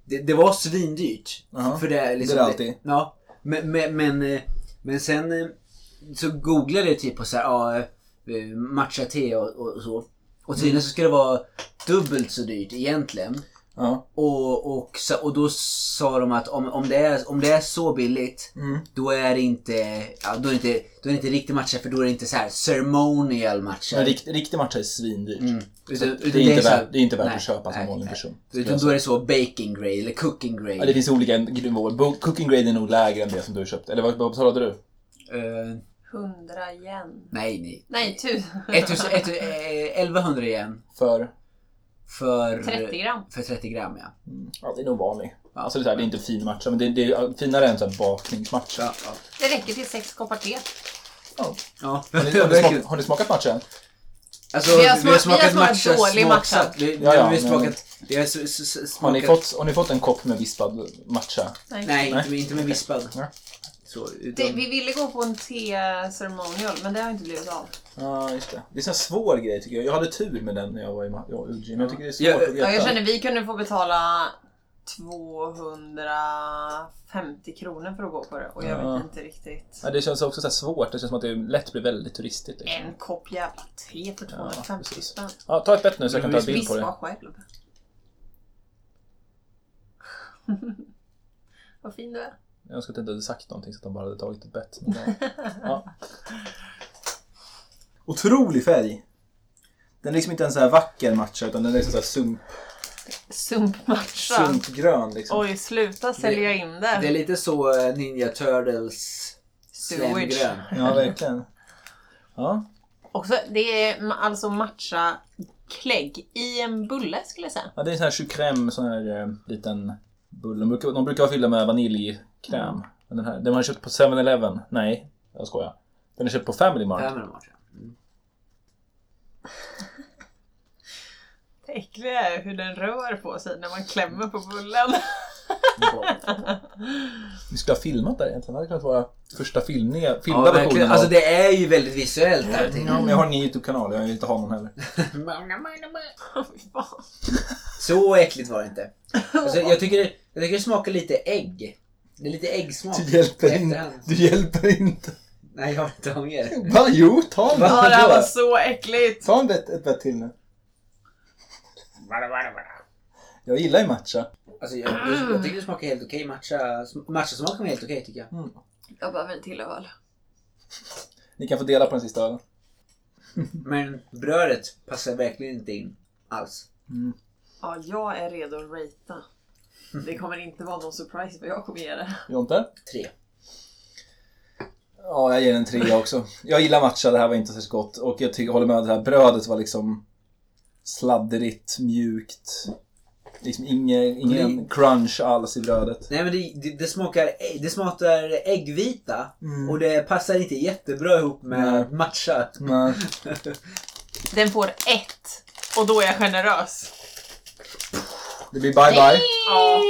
det, det var svindyrt. Jaha, För det, liksom, det är det alltid. ja. Men, men, men, eh, men sen eh, så googlade jag typ på så här, ja, eh, matcha te och, och så. Och tydligen Mm. så ska det vara dubbelt så dyrt egentligen. Ja. Och, och, så, och då sa de att om, om, det är, om det är så billigt Mm. då är det inte, ja, då är det inte, då är det inte riktig matcha för då är det inte så här ceremonial matcha. Men rikt, riktig matcha är svindyrt. Mm. Utan- Det, utan är inte så här- värt, det är inte värt nej, att köpa som nej, vanlig nej. person. skulle Utan jag då är säga. det så baking grade eller cooking grade. Ja, det finns olika nivåer. Bo- Cooking grade är nog lägre än det som du köpte. Eller vad, vad betalade du? Eh, Hundra igen. nej, nej. Nej, tusen. 1000, ett, eh, 1100 igen För? för 30 gram. För 30 gram ja. Mm. Ja, det är nog vanlig. Alltså det är, så här, det är inte fin matcha, men det, det är finare än så här bakningsmatcha. Ja, ja. Det räcker till sex koppar te. Ja. ja. Har, ni, har, ni smakat, har ni smakat matcha än? Alltså, Vi har smak- vi har smakat dålig smaksatt. matcha. Vi, Ja, ja, vi har men- smakat... Vi har s- s- s- smakat Har ni, fått, har ni fått en kopp med vispad matcha? Nej, Nej. Inte, med- inte med vispad. Ja. så. Utan, Det, vi ville gå på en te-ceremonial men det har inte blivit av. Ja, just det. Det är en sån här svår grej tycker jag. Jag hade tur med den när jag var i Ma- ja, Uji, men jag tycker det är svårt Ja, att Ja, veta. jag känner vi kunde få betala 250 kronor för att gå på det och jag Ja. vet inte riktigt. Ja, det känns också så här svårt. Det känns som att det lätt blir väldigt turistigt. Liksom. En kopp jävla te för 250 precis. spänn. Ja, ta ett bett nu så jag kan ta en bild på Vispa det. själv. Vad fin du är. Jag önskar att jag inte hade sagt någonting så att de bara hade tagit ett bett. Men ja. Ja. Otrolig färg! Den är liksom inte en så här vacker matcha utan den är liksom så här sump, Sumpmatcha. sumpgrön. Liksom. Oj, sluta sälja in det. Det är lite så eh, Ninja Turtles Sewage. slemgrön. Ja, verkligen. Ja. Också, det är ma- alltså matcha klägg i en bulle skulle jag säga. ja, det är sån här choucrème, sån här eh, liten bulle. De brukar, de brukar vara fyllda med vaniljkräm. Men den här, den har jag köpt på 7-Eleven. Nej, jag skojar. Den är köpt på Family Mart. Fem eller match. Det äckliga är hur den rör på sig när man klämmer på bullen. Vi skulle ha filmat där egentligen. Det hade kunnat vara första filmningen, Ja, filmade versionen. verkligen. av- Alltså Mm. det är ju väldigt visuellt här. till. Ja, men jag har ingen YouTube-kanal. Jag vill inte ha någon heller. Fy fan. Så äckligt var det inte. Alltså, jag, tycker det, jag tycker det smakar lite ägg. Det är lite äggsmak. Du hjälper, i in, efterhand. du hjälper inte. Nej, jag har inte ånger. Va? Jo, ta en Ja, det här var bett. så äckligt. Ta en bett, ett bett till nu. Jag gillar ju matcha. Alltså, jag, jag, jag tycker det smakar helt okej. Matcha, matcha smakar helt okej tycker jag. Jag behöver en till öl. Ni kan få dela på den sista ölen. Men brödet passar verkligen inte in alls. Ja, jag är redo att ratea. Det kommer inte vara någon surprise vad jag kommer ge det. Jonte? Tre. Ja, jag ger den en trea också. Jag gillar matcha, det här var inte särskilt gott. Och jag tycker, håller med, det här brödet var liksom sladdrigt, mjukt. Liksom ingen, ingen crunch alls i brödet. Nej men det, det, det smakar ägg- det smakar äggvita och det passar inte jättebra ihop med Mm. Nej. matcha. Men, Den får ett. Och då är jag generös. det blir bye-bye. Ja.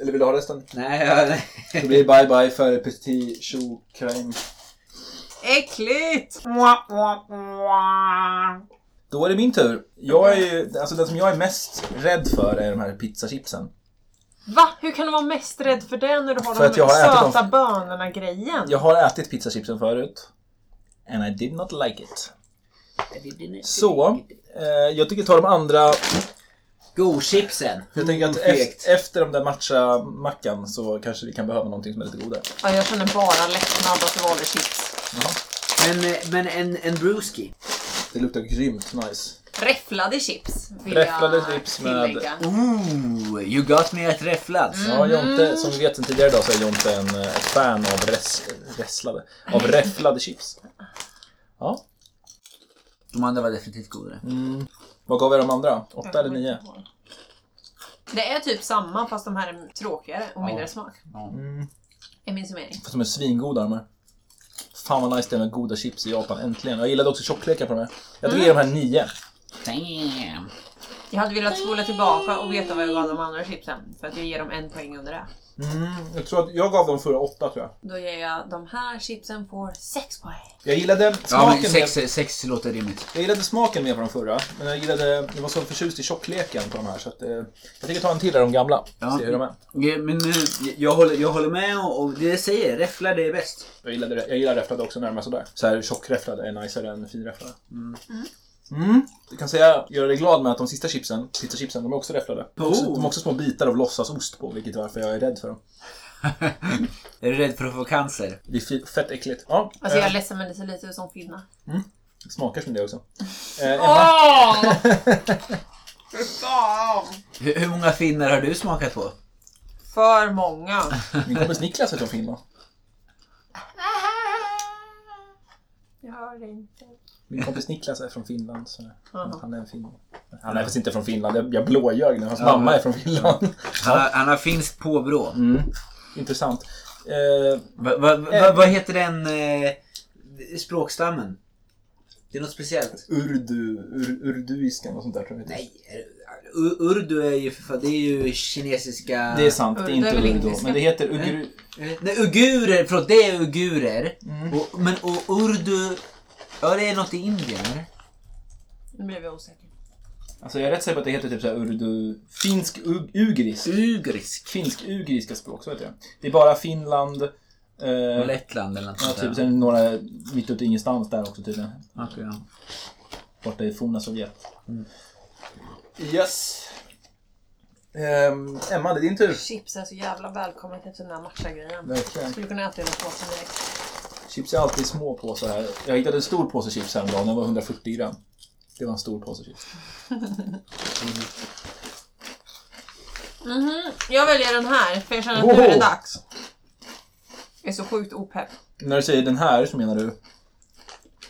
Eller vill du ha resten? Nej, jag, nej. Det blir bye-bye för petit chou crème. Äckligt! Då är det min tur. Jag är ju, alltså den som jag är mest rädd för är de här pizzachipsen. Va? Hur kan du vara mest rädd för det när du har För de att jag har ätit dem- söta bönorna-grejen? Jag har ätit pizzachipsen förut. And I did not like it. Så, eh, jag tycker ta de andra. Godchipsen. Jag tänker att Mm, fegt. efter, efter de där matcha-mackan så kanske vi kan behöva någonting som är lite godare. Ja, jag känner bara lättnad att det var det chips. Men, eh, men en, en brewski. Det luktar grymt nice. Räfflade chips vill Räfflade jag chips med- tillägga. Ooh, you got me at räfflad. Ja, Jonte, som vi vet sen tidigare idag så är Jonte en, eh, ett fan av res, resslade, av räfflade chips. Ja, De andra var definitivt godare. Mm. vad gav vi de andra? Åtta eller Mm. nio? Det är typ samma fast de här är tråkigare och mindre smak. Mm. Är min summering. Fast de är svingoda de här. Fan vad nice det är med goda chips i Japan, äntligen. Jag gillade också tjocklekar på de här. Jag tycker de här nio. Damn. Jag hade velat spola tillbaka och veta vad jag gav de andra chipsen. För att jag ger dem en poäng under det. Mm, jag tror att jag gav dem förra åtta tror jag. Då ger jag de här chipsen får sex poäng. Jag gillade Ja, smaken, men mer, sex, sex låter rimligt. jag gillade smaken mer på de förra. Men jag gillade, jag var så förtjust i tjockleken på de här så att eh, jag tänker ta en till av de gamla. Ja. Se hur de är. Okej, Men nu, jag, håller, jag håller med och, och det jag säger, räfflar det är bäst. Jag gillar, jag gillar räfflade också närmare sådär. Så här tjockräfflade är najsare än finräfflade. Mm. Mm. Jag kan säga, göra dig glad med att de sista chipsen, pizzachipsen, de är också räfflade. De har också, Oh. de har också små bitar av låtsasost på, vilket är varför jag är rädd för dem. Är du rädd för att få cancer? Det är fi- fett äckligt. Ja, Alltså jag är eh, ledsen men det ser lite ut som finnar. smakar som det också. Eh, Emma, Åh! Fy fan! Hur, hur många finnar har du smakat på? För många. min kompis Niklas är från Finland. Jag hör inte. Min kompis Niklas är från Finland. Så Jaha. han är en fin. Han är faktiskt inte från Finland, jag, jag blåljög nu. Hans mamma är från Finland. Han, har- han har finskt påbrå. Mm. Intressant. Eh, Va, va, va, vad heter den eh, språkstammen? Det är något speciellt. Urdu, ur, urduiskan och sånt där tror jag det heter. Nej, eh, Ur- urdu är ju för fan, det är ju kinesiska... Eh, Det är sant, det är Urdu inte är väl urdu. indiska? Men det heter ugru... Nej, ugurer, förlåt, det är ugurer. Och, men och urdu, ja det är något i Indien eller? Nu blev jag osäker. Alltså jag är rätt säker på att det heter typ såhär urdu... Finsk ug, ugrisk. Ugrisk. Finsk-ugriska språk, så heter det. Det är bara Finland... Eh, Lettland eller något ja, sånt typ, där. sen några mitt ute i ingenstans där också tydligen. Okej, ja. Borta i forna Sovjet. Yes. Ehm, Emma, det är din tur. Chips är så jävla välkommet efter den här matcha-grejen. Verkligen. Skulle kunna äta hela påsen direkt. Chips är alltid små påsar här. Jag hittade en stor påse chips häromdagen, den var 140 gram. Det var en stor påse chips. Mhm, Jag väljer den här för jag känner att nu är det Oho! dags. Jag är så sjukt opepp. När du säger den här så menar du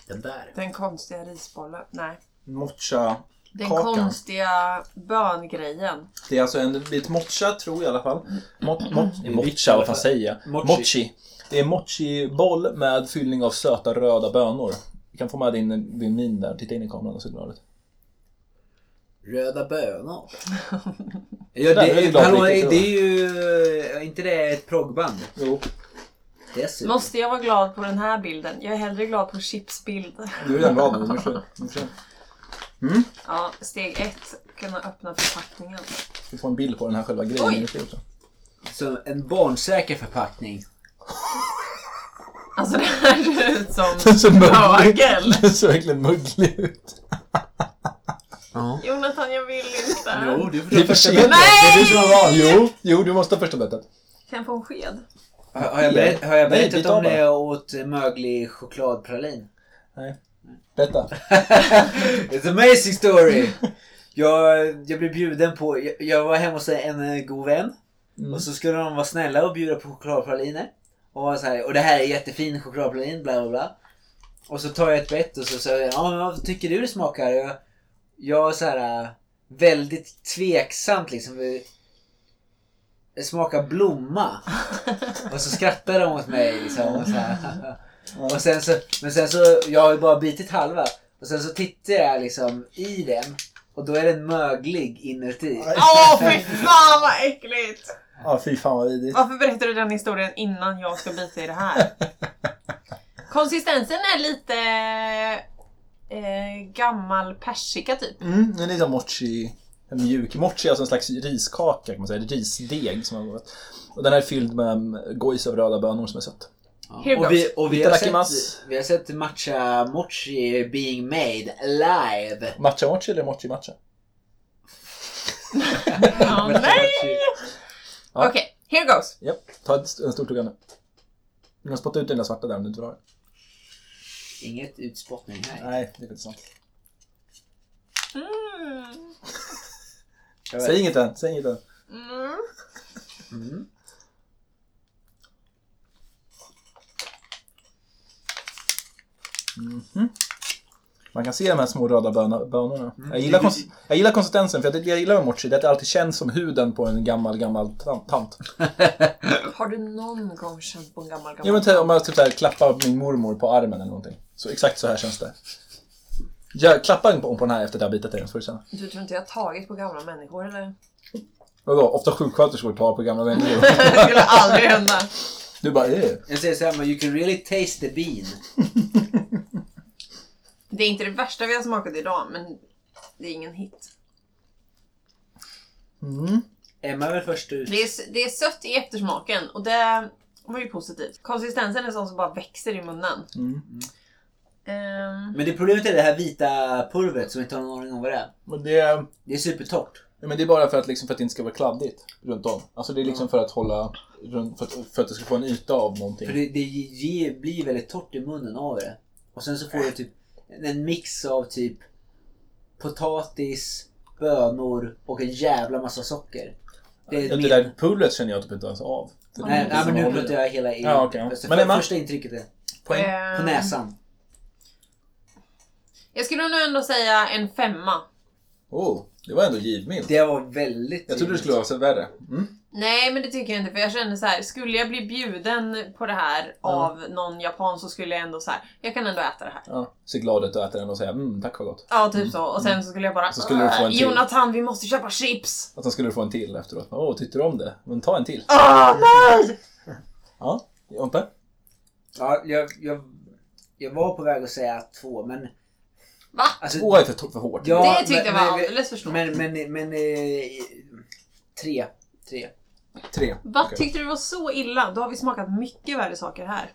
Den där. Den konstiga risbollen. Nej. mocha Den Kakan. konstiga böngrejen. Det är alltså en bit mocha, tror jag i alla fall. Mo mo mocha, vad fan säger jag? Mochi. Mochi. Det är mochi-boll med fyllning av söta röda bönor. Du kan få med din, din min där. Titta in i kameran och se glad ut. Röda bönor. ja, det, Där, det är är, glad hallå, riktigt, det är ju, är inte det ett proggband? Jo, Dessutom. Måste jag vara glad på den här bilden? Jag är hellre glad på chipsbild. du är redan glad nu. Nu kör vi. Nu kör vi. Ja, steg ett. Kunna öppna förpackningen. Vi får en bild på den här själva grejen. Oj. Nu ska vi också. Så en barnsäker förpackning. Alltså det här ser ut Den ser som möglig mögel. ut. Den ser verkligen möglig ut. Jonathan, jag vill inte. det Det är för sent. Nej! Jo, jo, du måste ha första bettet. Kan jag få en sked? Har, har jag berätt, har jag Nej, berättat byt av om bara. när jag åt möglig chokladpralin? Berätta. It's an amazing story! Jag, jag blev bjuden på, jag, jag var hemma hos en eh, god vän. Och så skulle de vara snälla och bjuda på chokladpraliner. Och var så här, och det här är jättefin chokladpralin, bla bla bla. Och så tar jag ett bett och så säger jag, ja men vad tycker du det smakar? Jag, jag är så här eh, väldigt tveksamt liksom. Det smakar blomma. Och så skrattar de åt mig liksom. Och så här. Och sen så, men sen så, jag har ju bara bitit halva. Och sen så tittar jag liksom i den. Och då är den möglig inuti. Åh fy fan vad äckligt! Ja, fy fan vad vidrigt. Varför berättar du den historien innan jag ska bita i det här? Konsistensen är lite eh, gammal persika typ. Mm, den är lite mochi, en mjuk. Mochi är alltså en slags riskaka kan man säga, risdeg som har gått. Och den här är fylld med mm, gojs av röda bönor som är sött. Here Och vi, och vi, har Itadakimasu. sett, vi har sett matcha mochi being made live. Matcha mochi eller mochi matcha? Ja, nej! Okej, Ja. here goes. Japp, ta ett, st- en stor tugga nu. Du kan spotta ut den där svarta där om du inte vill ha den. Inget utspottning här. Nej, det är inte sant. Mm. Jag vet. Säg inget än, säg inget än. Mm. Man kan se de här små röda böna, bönorna. Jag, gillar kons- jag gillar konsistensen, för jag, jag gillar med mochi, det är att det alltid känns som huden på en gammal, gammal tan- tant. Har du någon gång känt på en gammal Ja, gammal? men typ, om jag typ så här, klappar min mormor på armen eller någonting. Så exakt så här känns det. Jag klappar på, på den här efter att jag har bitit i den, så får du känna. Du tror inte jag har tagit på gamla människor eller? Vadå? Ofta sjuksköterskor tar på gamla människor. Det skulle aldrig hända. Du bara eh. Jag säger såhär, you can really taste the bean. Det är inte det värsta vi har smakat idag men det är ingen hit. Mm, Emma är väl först ut. Det är, det är sött i eftersmaken och det var ju positivt. Konsistensen är sån som bara växer i munnen. mm. Ehm, Men det problemet är det här vita pulvret som vi inte har någon aning om vad det är. Men det, Det är supertorrt. men det är bara för att, liksom, för att det inte ska vara kladdigt runt om. Alltså det är liksom för att hålla, runt, för, att, för att det ska få en yta av För någonting. det, det ge, blir väldigt torrt i munnen av det. Och sen så får du typ en mix av typ potatis, bönor och en jävla massa socker. Det är Det, min- det där pulvret känner jag typ inte ens av. Det är Nej, liksom nej men nu vanligt. pratar jag hela EU. Ja, okej. Alltså, Men för, Emma? Första intrycket är Poäng. på ehm, näsan. Jag skulle nog ändå säga en femma. Oh, det var ändå givmilt. Det var väldigt Jag trodde det skulle vara så värre. Mm. Nej men det tycker jag inte för jag känner så här, skulle jag bli bjuden på det här av någon japan så skulle jag ändå så här, jag kan ändå äta det här. Ja. Så glad att du äter den och säger mm, tack vad gott. Ja typ så. Och sen så skulle jag bara, "Äh, Så skulle du få en till. Jonathan vi måste köpa chips! Att han skulle få en till efteråt. Åh, tyckte du om det? Men ta en till. Åh nej! Ja, Jonte? Ja, jag, jag, jag var på väg att säga två, men... Va? Alltså, Två är för, to- för hårt. ja, det tyckte jag var alldeles för stort. Men, men, men... eh, Tre. Tre. Tre. Vad Okej. tyckte du var så illa? Då har vi smakat mycket värre saker här.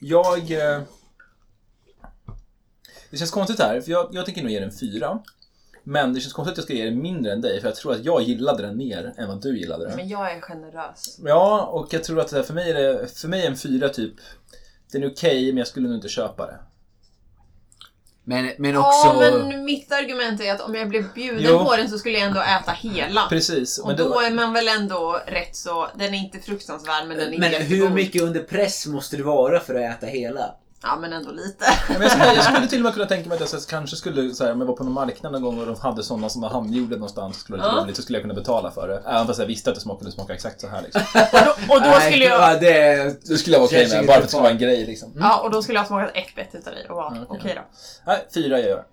Jag... eh, Det känns konstigt här, för jag, jag tänker nog ge den fyra. Men det känns konstigt att jag ska ge den mindre än dig, för jag tror att jag gillade den mer än vad du gillade den. Men jag är generös. Ja, och jag tror att det här, för mig är det, för mig är en fyra typ, den är okej, men jag skulle nog inte köpa det. Men, men också... Ja men mitt argument är att om jag blev bjuden Jo. på den så skulle jag ändå äta hela. Precis. Och då är man väl ändå rätt så, den är inte fruktansvärd men den är Men hur jättegod. mycket under press måste det vara för att äta hela? Ja men ändå lite. Ja, men jag, skulle, jag skulle till och med kunna tänka mig att jag så- kanske skulle, så här, om jag var på någon marknad någon gång och de hade sådana som var handgjorda någonstans, skulle det Ja. vara roligt, så skulle jag kunna betala för det. Även fast jag visste att det smakade smaka exakt så här liksom. Och då, och då Nej, skulle jag Ja, det... Det skulle jag vara okej med, bara för att det skulle vara en grej liksom. Ja, och då skulle jag ha smakat ett bett utav dig och bara, Ja, Mm. okej okej. då. Nej, fyra gör jag.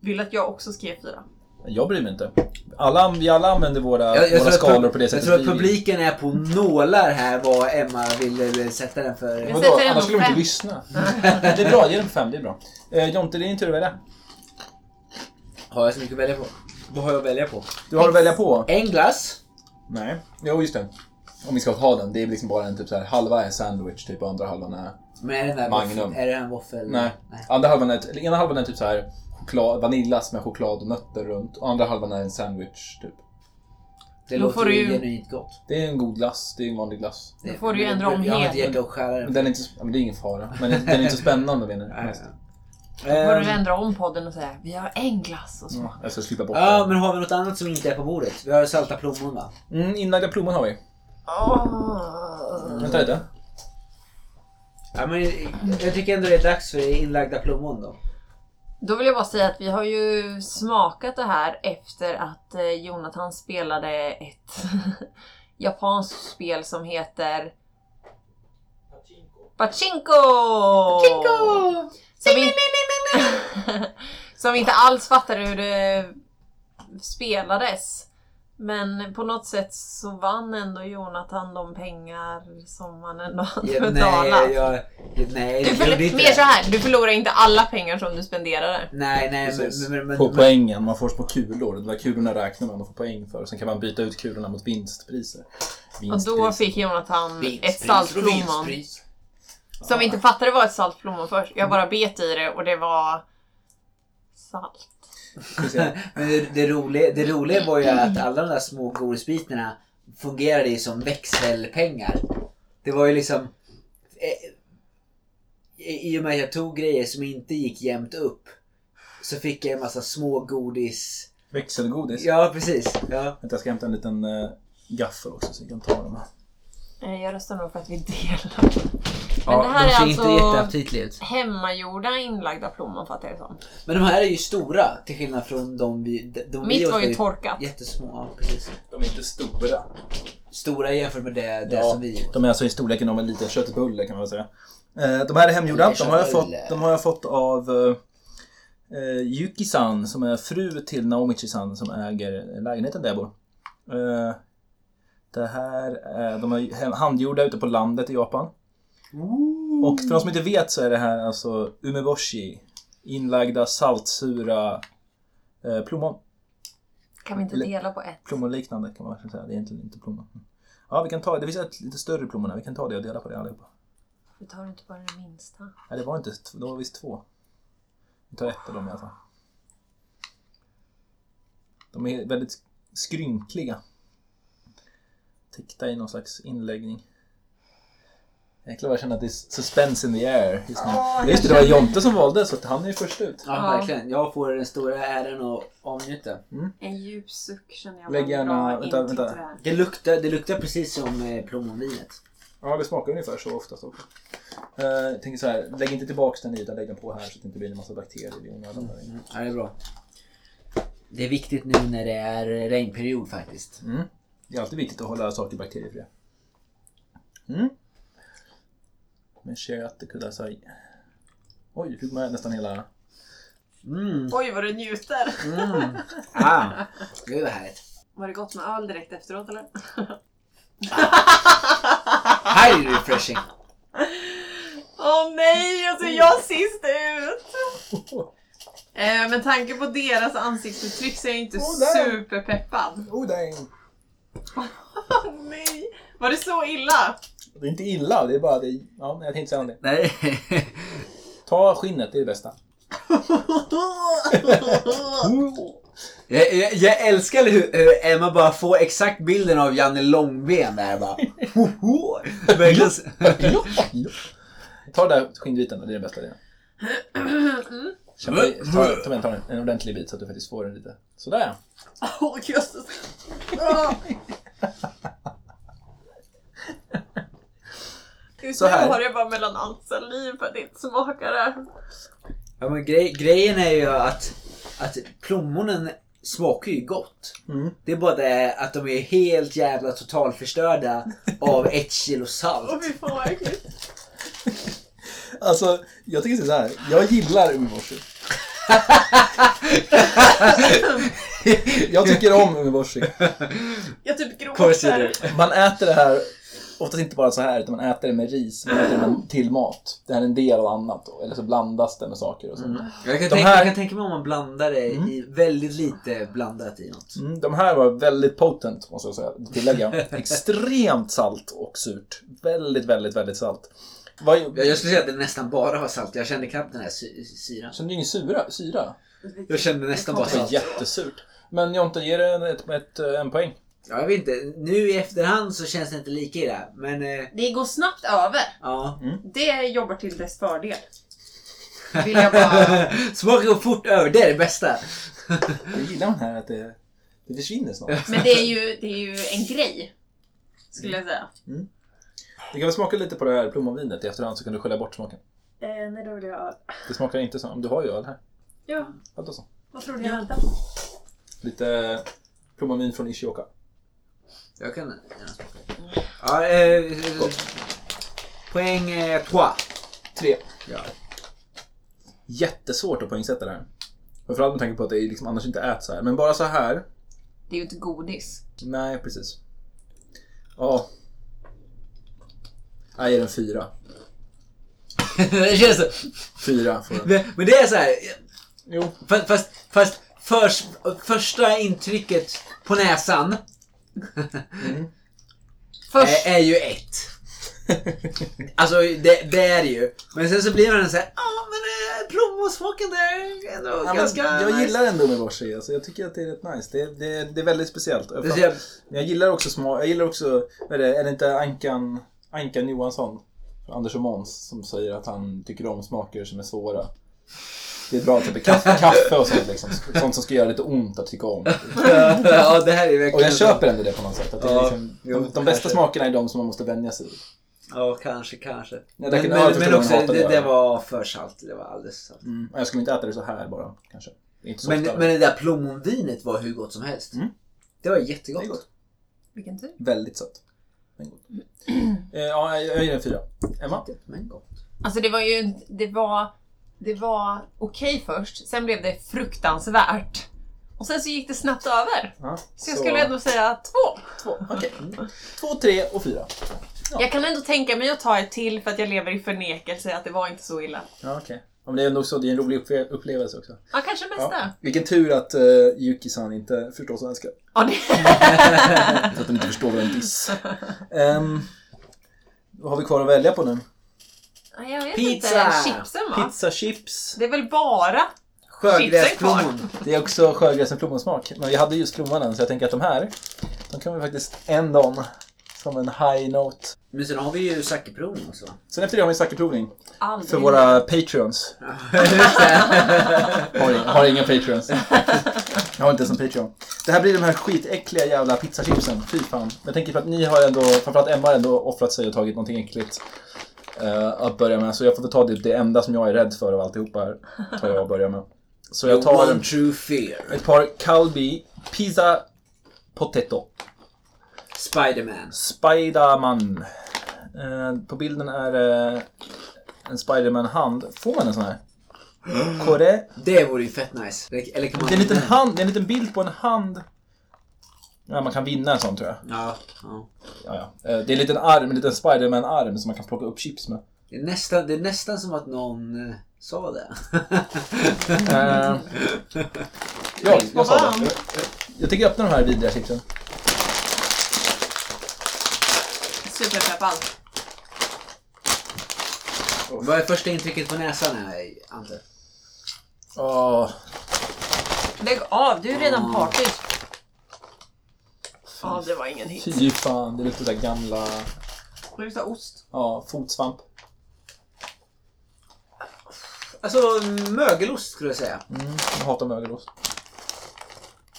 Vill att jag också skrev fyra. Jag bryr mig inte. Alla, vi alla använder våra, Jag, jag, våra tror att, skalor på pub- det jag sättet tror att vi vill. publiken är på nålar här vad Emma ville sätta den Jag för. Vadå? sätter den Annars skulle de på inte fem. lyssna. Det är bra, ge dem fem, det är bra. Eh, Jonte, det är din tur att välja. Har jag så mycket att välja på? Vad har jag att välja på? Du har att välja på. En glass. Nej. Jo, just det. Om vi ska ha den, det är liksom bara en typ så här, halva är en sandwich typ och andra halvan är... Men är det den där Magnum. våffel- Är det en våffel? Nej. Andra halvan är, eller ena halvan är typ så här choklad, vaniljglass med choklad och nötter runt. Och andra halvan är en sandwich typ. Det Då får låter du ju ju- genuint gott. Det är en god glass, det är en vanlig glass. Då får du ju ändra om Jag har ett helt. hjärta att skära Men den. den är inte, så- ja, men det är ingen fara. Men den är inte så spännande menar jag. mest. Får Ehm, du ändra om podden och säga, vi har en glass och smak. Jag ska slippa bort Ja, det. men har vi något annat som inte är på bordet? Vi har salta plommon va? Mm, inlagda plommon har vi. Åh. Vänta lite. Ja, men jag tycker ändå det är dags för inlagda plommon då. Då vill jag bara säga att vi har ju smakat det här efter att eh, Jonathan spelade ett japanskt spel som heter Pachinko! Pachinko! Som, vi... som vi inte alls fattade hur det spelades. Men på något sätt så vann ändå Jonathan de pengar som han ändå hade Ja, nej, betalat. jag, jag- nej, Du jag gjorde förl- inte mer det. så här, du förlorar inte alla pengar som du spenderade. Nej, nej, men... Precis. men, men, På men poängen, man får små kulor. De där kulorna räknar man och får poäng för. Sen kan man byta ut kulorna mot vinstpriser. Och då fick Jonathan ett vinstpris och salt plommon. vinstpris. Som vi inte fattade var ett salt plommon först. Jag bara bet i det och det var salt. Men det, det, roliga, det roliga var ju att alla de där små godisbitarna fungerade ju som växelpengar. Det var ju liksom... Eh, i- I och med att jag tog grejer som inte gick jämnt upp så fick jag en massa små godis... Växelgodis. Ja, precis. Ja. Vänta, jag ska hämta en liten eh, gaffel också så jag kan ta dem. här. Eh, Jag röstar nog för att vi delar. Men det här är alltså jätteaptitligt. hemmagjorda inlagda plommon fattar jag det som. Men de här är ju stora till skillnad från de vi... De vi Mitt åt var ju torkat. Jättesmå, ja, precis. De är inte stora. Stora jämfört med det, det Ja, som vi åt. De är alltså i storleken av en liten köttbulle kan man väl säga. Eh, De här är hemgjorda. De har jag fått, de har jag fått av eh, eh, Yuki-san som är fru till Naomichi-san som äger lägenheten där jag bor. Eh, Det här är, de är he- handgjorda ute på landet i Japan. Och för de som inte vet så är det här alltså umeboshi. Inlagda saltsura eh, plommon. Kan vi inte dela på ett? Plommonliknande kan man verkligen säga. Det är egentligen inte plommon. Ja, vi kan ta, det finns ett lite större plommon här. Vi kan ta det och dela på det allihopa. Vi tar inte bara den minsta. Nej, det var inte, det var visst två. Vi tar ett av dem i alla fall. De är väldigt skrynkliga. Täckta i någon slags inläggning. Jäklar vad jag känner att det är suspense in the air just nu. just det, det var Jonte som valde så att han är ju först ut. Ja, Ja. verkligen. Jag får den stora äran att avnjuta. En djup suck känner jag. Lägg var en gärna- bra vänta, intro vänta. till det här. Det luktar, det luktar precis som eh, plommonvinet. Ja, det smakar ungefär så oftast också. Eh, jag tänker så här, lägg inte tillbaks den i utan lägg den på här så att det inte blir en massa bakterier i onödan. där inne. Mm, Ja, det är bra. Det är viktigt nu när det är regnperiod faktiskt. Mm. Det är alltid viktigt att hålla saker bakteriefria. Mm. Men kött, kudasai. Oj, fick man nästan hela... Mm, Oj vad du njuter! Ah, gud vad härligt. Var det gott med öl direkt efteråt eller? Här är det refreshing. Åh nej, alltså jag sist ut! Eh, med tanke på deras ansiktsuttryck så är jag inte Åh, där. superpeppad. Oh, dang. Åh nej! Var det så illa? Det är inte illa, det är bara det... Ja, men jag tänkte säga om det. Nej. Ta skinnet, det är det bästa. Jag, jag, jag älskar hur, hur Emma bara får exakt bilden av Janne Långben där bara. Hoho! Verkligen så- Ta den där skinnbiten, det är den bästa delen. Kämpa i- Ta, ta, med- ta med en ordentlig bit så att du faktiskt får den lite. Sådär Åh jösses! Ah. Just Så nu här. har jag bara mellan allt saliv för att det inte smakar det. Ja, men grej, grejen är ju att, att plommonen smakar ju gott. Mm. Det är bara det att de är helt jävla totalförstörda av ett kilo Åh salt. fy fan vad äckligt. Alltså, jag tycker så här. Jag gillar umeboshi. jag tycker om umeboshi. Jag typ Korsider. gråter. Man äter det här, oftast inte bara så här, utan man äter det med ris. Man äter det med, till mat. Det här är en del av annat då. Eller så blandas det med saker och så. Jag kan, De tänka, här- jag kan tänka mig om man blandar det i väldigt lite blandat i något. Mm, de här var väldigt potent, måste jag säga, tillägga. Extremt salt och surt. Väldigt, väldigt, väldigt salt. Vad, Jag, jag skulle säga att det nästan bara var salt. Jag kände knappt den här sy- syran. kände du ingen syra? syra? Jag kände nästan bara Det var salt. jättesurt. Men Jonte, ge det ett, ett, eh, en poäng. Ja, jag vet inte. Nu i efterhand så känns det inte lika illa. Men eh, Det går snabbt över. ja. Mm. Det jobbar till dess fördel. Vill jag bara... Smaka går fort över. Det är det bästa. Jag gillar den här att det, det försvinner snart. Men det är, ju, det är ju en grej. Skulle jag säga. Du kan väl smaka lite på det här plommonvinet i efterhand så kan du skölja bort smaken. Eh, nej, då vill jag... Det smakar inte så. Men Du har ju öl här. Ja, Allt och så. vad tror du jag väntar Lite plommonvin från Ishioka. Jag kan gärna smaka. Ja, eh, poäng eh, trois. Tre. Ja. Jättesvårt att poängsätta det här. Framförallt med tanke på att det liksom annars inte äts så här. Men bara så här. Det är ju inte godis. Nej, precis. Ja. Jag ger den fyra. det känns så. Fyra får den. Men, men det är så här. Jo. Fast, fast, fast förs- första intrycket på näsan Först, är, är ju ett. Alltså det, det är det ju. Men sen så blir man så här. Ja ah, men eh, plommonsmaken där är ändå Ja, men ganska jag nice." gillar ändå med Borsi. Alltså, jag tycker att det är rätt nice. Det, det, det är väldigt speciellt. Det ser- Men jag gillar också små, jag gillar också, vad är det, är det inte Ankan, Ankan Johansson? från Anders och Måns som säger att han tycker om smaker som är svåra. Det är bra, typ kaffe, kaffe och sånt liksom. Sånt som ska göra lite ont att tycka om. ja det här är verkligen Och jag så. köper ändå det på något sätt. Att det är Ja, liksom, jo, de, de kanske. bästa smakerna är de som man måste vänja sig vid. Ja kanske kanske. Ja, det men kan- ja, jag men, förstår men vad också de hatar att det, det göra. var för salt. Det var alldeles salt. Mm. Jag skulle inte äta det så här bara, kanske. Inte så Men, ofta. men det där plommonvinet var hur gott som helst. Mm. Det var det jättegott. är gott. vilken tur. Väldigt sött. Men gott. Eh, ja, jag, jag ger den fyra. Emma? Men gott. Alltså det var ju... inte- Det var... Det var okej först, sen blev det fruktansvärt. Och sen så gick det snabbt över. Ja, Så jag skulle ändå säga två. Två, okej. Två, tre och fyra. Jag kan ändå tänka mig att ta ett till för att jag lever i förnekelse att det var inte så illa. Ja, okej. Ja, men det är ändå så, det är en rolig upple- upplevelse också. Ja, kanske mest det. Vilken tur att eh, Yuki-san inte förstår svenska. Ja, det. Så att hon inte förstår vad en diss. Ehm, vad har vi kvar att välja på nu? Ja, Jag vet Pizza! inte. Chipsen va? Pizza, chips. Det är väl bara... Sjögräsplommon. Det är också sjögräs med plommonsmak. Men vi hade just plommonen så jag tänker att de här, de kan vi faktiskt en dag som en high note. Men sen har vi ju sackeplommon också. Sen efter det har vi en sackerprovning. Aldrig. För våra patreons. har, inga, har inga patreons. Jag har inte ens en patreon. Det här blir de här skitäckliga jävla pizzachipsen. Fy fan. Jag tänker för att ni har ändå, framförallt Emma har ändå offrat sig och tagit någonting äckligt. eh, att börja med. Så jag får väl ta det, det enda som jag är rädd för av alltihopa här. Tar jag och börjar med. Så jag tar One en, true fear. ett par Calbee Pizza Potato. Spiderman. Spiderman. Eh, på bilden är det en Spiderman-hand. Får man en sån här? Kore. Det vore ju fett nice. Eller- Eller kan man... Det är en liten hand, det är en liten bild på en hand. Ja, man kan vinna en sån tror jag. Ja, ja. Ja, ja. Eh, Det är en liten arm, en liten Spiderman-arm som man kan plocka upp chips med. Det är, nästan, det är nästan som att någon eh, sa det. Eh, jag, på jag sa det. varm. Jag, jag tänker öppna de här vidriga chipsen. Superpeppad. Vad är första intrycket på näsan här, Ante? Åh, Lägg av, du är redan partisk. Ja, det var ingen hit. fy fan. Det luktar så här gamla Det luktar ost. ja, fotsvamp. Alltså, mögelost skulle jag säga. Jag hatar mögelost.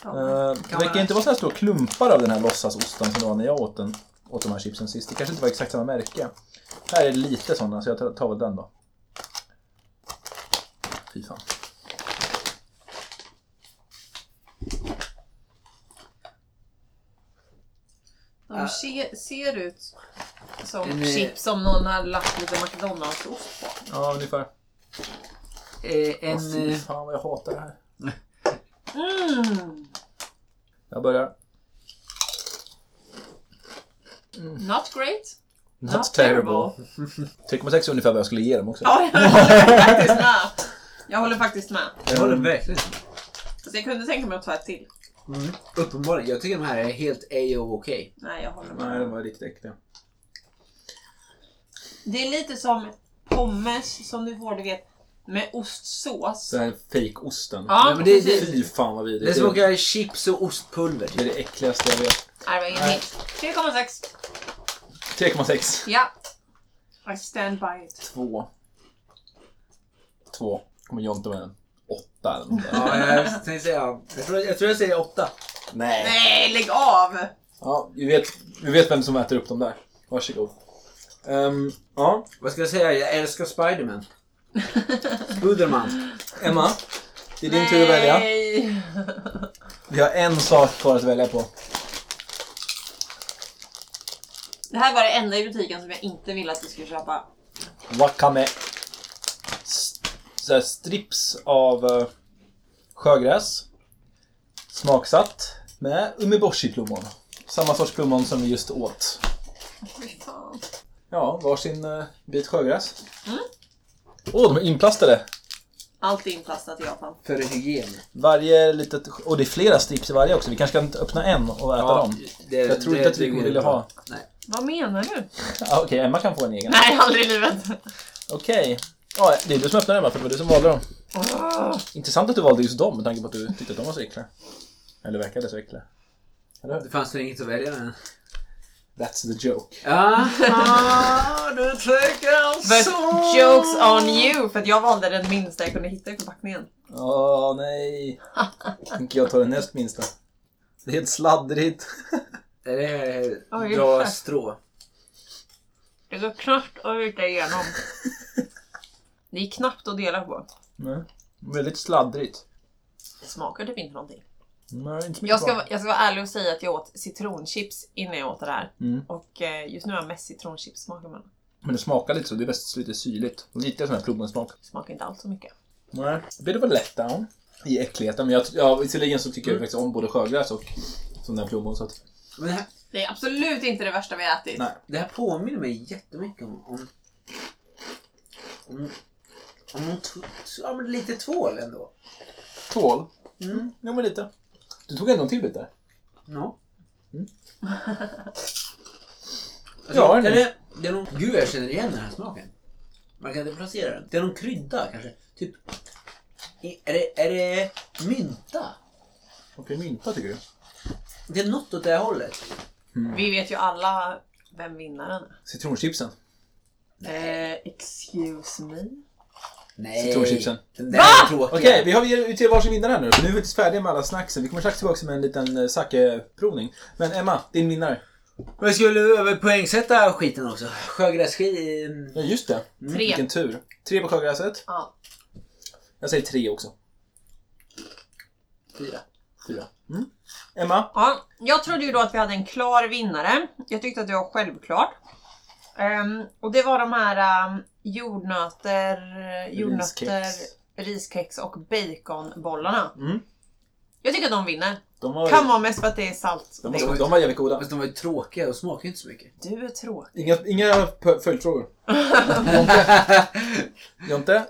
Ja. Eh, det verkar inte vara sådana stora klumpar av den här låtsasosten som det var när jag åt, den, åt de här chipsen sist. Det kanske inte var exakt samma märke. Här är det lite sådana, så jag tar- tar väl den då. Fy fan. De se, ser ut som En, eh, chips som någon har lagt lite McDonalds-ost på. Ja, ungefär. Eh, Åh, en... fy eh, fan vad jag hatar det här. Mm. Jag börjar. Not great. Not, terrible. 3,6 är ungefär vad jag skulle ge dem också. Ja, jag håller faktiskt med. Jag håller faktiskt med. Jag håller verkligen Fast jag kunde tänka mig att ta ett till. Uppenbarligen. Jag tycker de här är helt A-OK. Nej, jag håller Nej, med. de var riktigt äckliga. Det är lite som pommes som du får, du vet, med ostsås. Så här fejkosten. Ja, Nej, men det- precis. det- Fy fan vad Det vidrigt. Det, är- smakar chips och ostpulver. det är typ. det äckligaste jag vet. Nej, det var ingen hit. 3,6. 3,6. Ja. I stand by it. 2. 2. Kommer Jonte med en 8 eller något där. Ja, jag tänkte säga... Jag tror jag, tror jag säger åtta. Nej. Nej, lägg av! Ja, vi vet, vi vet vem som äter upp dem där. Varsågod. Um, ja, Vad ska jag säga? Jag älskar Spiderman. Buderman. Emma. Det är din tur att välja. Nej. Vi har en sak kvar att välja på. Det här var det enda i butiken som jag inte ville att vi skulle köpa. Wakame. S- Så här strips av eh, sjögräs. Smaksatt med umeboshi-plommon. Samma sorts plommon som vi just åt. Fy fan. Ja, varsin eh, bit sjögräs. Åh, de är inplastade! Allt är inplastat i Japan. För hygien. Varje litet... Och det är flera strips i varje också. Vi kanske kan öppna en och äta dem. det, Jag tror det- inte att det vi går ville bra. ha. Nej. Vad menar du? Ja, Ah, Okej, Emma kan få en egen. Nej, aldrig i livet. Okej. Ja, det är du som öppnar Emma, för det var du som valde dem. Åh, Intressant att du valde just dem med tanke på att du tyckte att de var så äckliga. Eller verkade så äckliga. Det fanns väl inget att välja mellan. That's the joke. Jaha, du alltså! tycker But så. jokes on you! För att jag valde den minsta jag kunde hitta i förpackningen. Åh nej. Tänker jag ta den näst minsta. Det är helt sladdrigt. Är Det här Oj. dra strå. Det går knappt att ryta igenom. Det är knappt att dela på. Nej. Väldigt sladdrigt. Det smakar typ inte någonting. Nej, inte så mycket Jag ska, kvar. jag ska vara ärlig och säga att jag åt citronchips innan jag åt det här. Mm. Och eh, just nu har jag mest citronchips smak i munnen. Men det smakar lite så. Det är mest lite syrligt. Lite sån här plommonsmak. Det Smakar inte alls så mycket. Nej. Det blir det väl lätt down. I äckligheten. Men jag, ja, visserligen så tycker Mm. jag faktiskt om både sjögräs och sån där plommon. Så att, Men det här, Det är absolut inte det värsta vi har ätit. Nej. det här påminner mig jättemycket om... Om, om, om någon t- ja, men lite tvål ändå. tvål. Mm. Ja, men lite. Du tog ändå en till bit där. Ja. Mm. Alltså, Ja, det, det- är, det är någon, Gud, jag känner igen den här smaken. Man kan inte placera den. Det är någon krydda kanske. Typ... i- Är det, är det mynta? Okej, mynta tycker du? Det är något åt det här hållet. Vi vet ju alla vem vinnaren är. Citronchipsen. Eh, excuse me? Nej. Citronchipsen. Den där är tråkiga. Okej, vi har vi ut till varsin vinnare här nu för nu är vi faktiskt färdiga med alla snacksen. Vi kommer strax tillbaka med en liten eh, sake-provning. Men Emma, din vinnare. Men jag skulle över poängsätta skiten också. Sjögrässki... eh, Ja, just det. Tre. Mm, Vilken tur. Tre på sjögräset. Ja. Jag säger tre också. Fyra. Fyra. Mm. Emma? Ja, jag trodde ju då att vi hade en klar vinnare. Jag tyckte att det var självklart. Ehm, och det var de här ehm, jordnötter, jordnötter, Riskex. riskex och baconbollarna. Mm. Jag tycker att de vinner. De var, Kan vara mest för att det är salt. de var, de var jävligt goda. Fast de var ju tråkiga och smakade inte så mycket. Du är tråkig. Inga, inga p- följdfrågor. Jonte?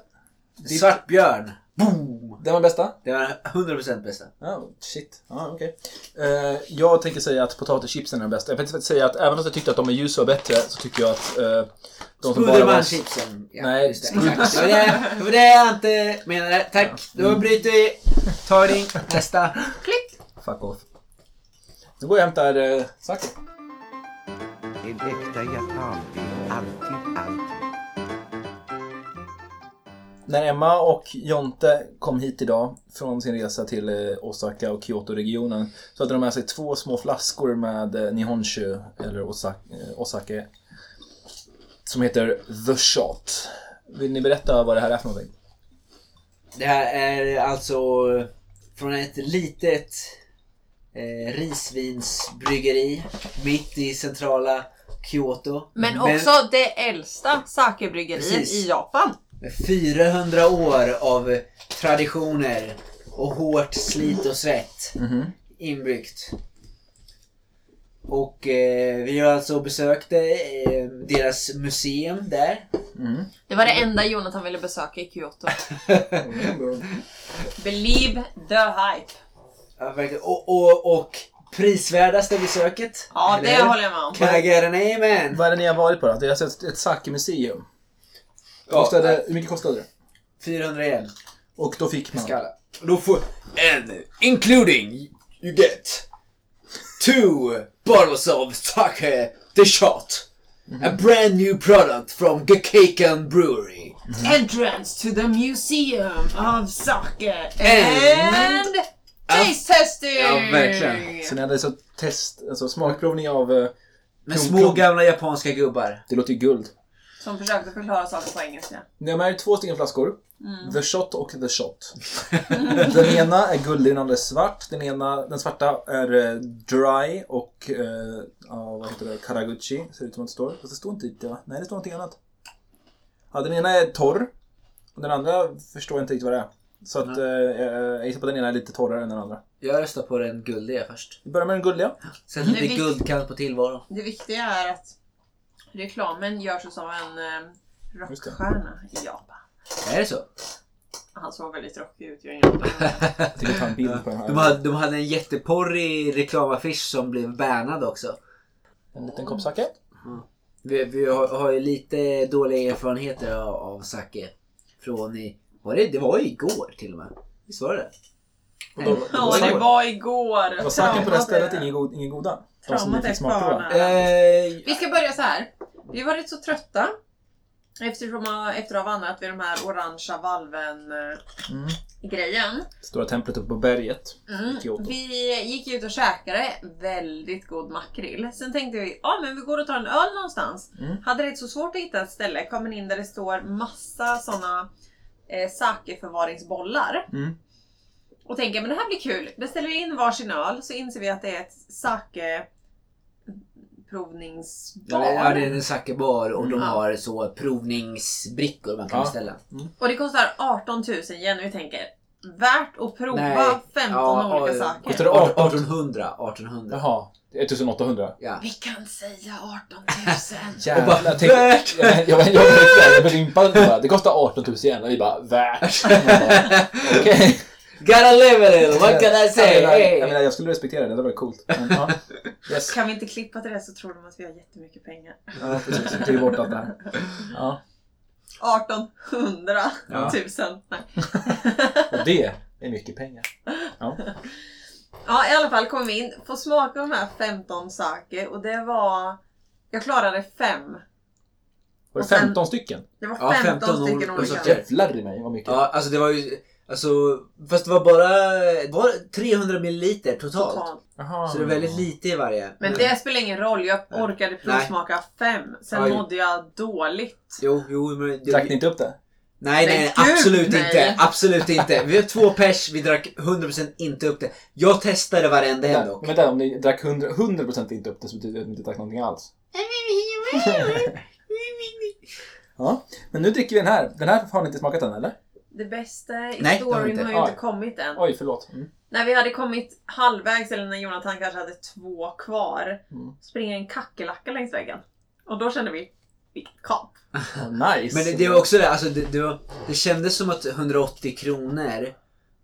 Svartbjörn. Boom! Den var bästa? Det var 100% bästa. Ja, Oh, shit. Ja, okej. Eh, jag tänker säga att potatischipsen är den bästa. Jag tänkte faktiskt säga att även om jag tyckte att de med ljus var bättre så tycker jag att eh, de som bara var... Pudermanchipsen. Ja, Nej, just det. Exakt. Det var det- det var det jag inte menade. Tack. Då bryter vi. Tagning. Nästa. Klick! Fuck off. Nu går jag och hämtar eh, Saki. En äkta japan vill alltid allt När Emma och Jonte kom hit idag från sin resa till eh, Osaka och Kyoto-regionen så hade de med sig två små flaskor med eh, Nihonshu, eller Osaka, Osaka som heter The Shot. Vill ni berätta vad det här är för någonting? Det här är alltså från ett litet eh, risvinsbryggeri mitt i centrala Kyoto. Men också det äldsta sakebryggeriet Precis. i Japan. Med 400 år av traditioner och hårt slit och svett Mhm. inbyggt. Och eh, vi har alltså besökte eh, deras museum där. Det var det enda Jonathan ville besöka i Kyoto. Believe the hype. Ja, verkligen. Och, och, och prisvärdaste besöket. Ja, det hur? håller jag med om. Can I get an amen? Vad är det ni har varit på då? Det är alltså ett, ett Sake-museum. Kostade, hur mycket kostade det? 400 igen. Och då fick man... Skalla. Då får... And including you get two bottles of sake the shot. A brand new product from Gekeikan Brewery. Entrance to the Museum of Sake And- and Taste testing! Ja, verkligen. Så ni hade alltså test, alltså smakprovning av... eh, Med Klunk, små klunk. gamla japanska gubbar. Det låter ju guld. Som försökte förklara saker på engelska. Ni har med er två stycken flaskor. Mm. The shot och the shot. den ena är guldig, den andra är svart. Den, ena, den svarta är eh, dry och eh, ja, vad heter det? Karaguchi. Ser ut som att det står. Fast det står inte riktigt va? Nej, det står någonting annat. Ja, den ena är torr. Och den andra förstår jag inte riktigt vad det är. Så att, eh, jag gissar på att den ena är lite torrare än den andra. Jag röstar på den guldiga först. Vi börjar med den guldiga. Sen Mm. Men lite vi- guldkant på tillvaron. Det viktiga är att reklamen görs som en eh, Just det. rockstjärna i Japan. Är det så? Han såg väldigt rockig ut. Jag har ingen aning. Jag tänker ta en bild på den De här. hade, de hade en jätteporrig reklamaffisch som blev bannad också. En liten kopp sake. Vi, vi har, har ju lite dåliga erfarenheter av, av sake. Från i... Var det, det var ju igår till och med. Visst var det det? Och då- Ja, då- det var igår. Var saken på det här Traumat stället är- ingen, god, ingen goda? De som ni Traumat är fick smakprova? kvar. Eh, Vi ska börja så här. Vi var rätt så trötta. Eftersom, efter att ha vandrat vid de här orangea Mm. valven-grejen. Stora templet uppe på berget. i Kyoto. Mm. Vi gick ut och käkade väldigt god makrill. Sen tänkte vi, ja men vi går och tar en öl någonstans. Mm. Hade rätt så svårt att hitta ett ställe, kommer in där det står massa såna eh, sakeförvaringsbollar. Mm. Och tänker, men det här blir kul. Beställer vi in varsin öl så inser vi att det är ett sakeprovningsbar. ja, det är en sakebar och de Mm. har så provningsbrickor man kan Ja. beställa. Och det kostar 18 000 yen och vi tänker, värt att prova Nej. 15 Ja, olika ja, saker. Kostar det 18? 1800. 1800. Jaha, 1800. Ja. Vi kan säga 18 000. Jävlar, bara, jag tänkte- värt! Jag, jag, jag, jag, jag, jag blev impad. Bara, det kostar 18 000 igen. Och vi bara, värt! Man bara, Okej. Gotta live it! little, What can I say? Jag, menar, jag, Hey. menar, jag skulle respektera det, det hade varit coolt. Men, ja. Yes. Kan vi inte klippa till det så tror de att vi har jättemycket pengar. Ja, precis. Det är bort allt det här. Ja. 1800 Ja. 000. Nej. Och det är mycket pengar. Ja, i alla fall kom vi in, får smaka de här 15 saker och det var... Jag klarade fem. Var det Och sen- 15 stycken? Det var Ja, alltså, 15, 15 stycken olika olika. sorter. Jävlar i mig vad mycket. Ja, alltså det var ju... Alltså, fast det var bara det var 300 milliliter totalt. Totalt. Jaha. Så det var väldigt lite i varje. Men det spelar ingen roll, jag orkade provsmaka fem. Sen Aj. mådde jag dåligt. Jo, jo, men... Drack ni Det, inte upp det? Nej, nej, Men nej gud, absolut nej. inte. Absolut inte. Vi var två pers, vi drack 100% inte upp det. Jag testade varenda en dock. Men där, om ni drack 100%, 100 inte upp det så betyder det att ni inte drack någonting alls. Ja, men nu dricker vi den här. Den här har ni inte smakat än eller? Det bästa i Nej, det har vi storyn inte. har ju inte Oj. kommit än. Oj, förlåt. Mm. När vi hade kommit halvvägs, eller när Jonathan kanske hade två kvar, springer en kackerlacka längs väggen. Och då kände vi, vilket kap. Ja, nice. Men det, det var också det, alltså det, det, var, det kändes som att 180 kronor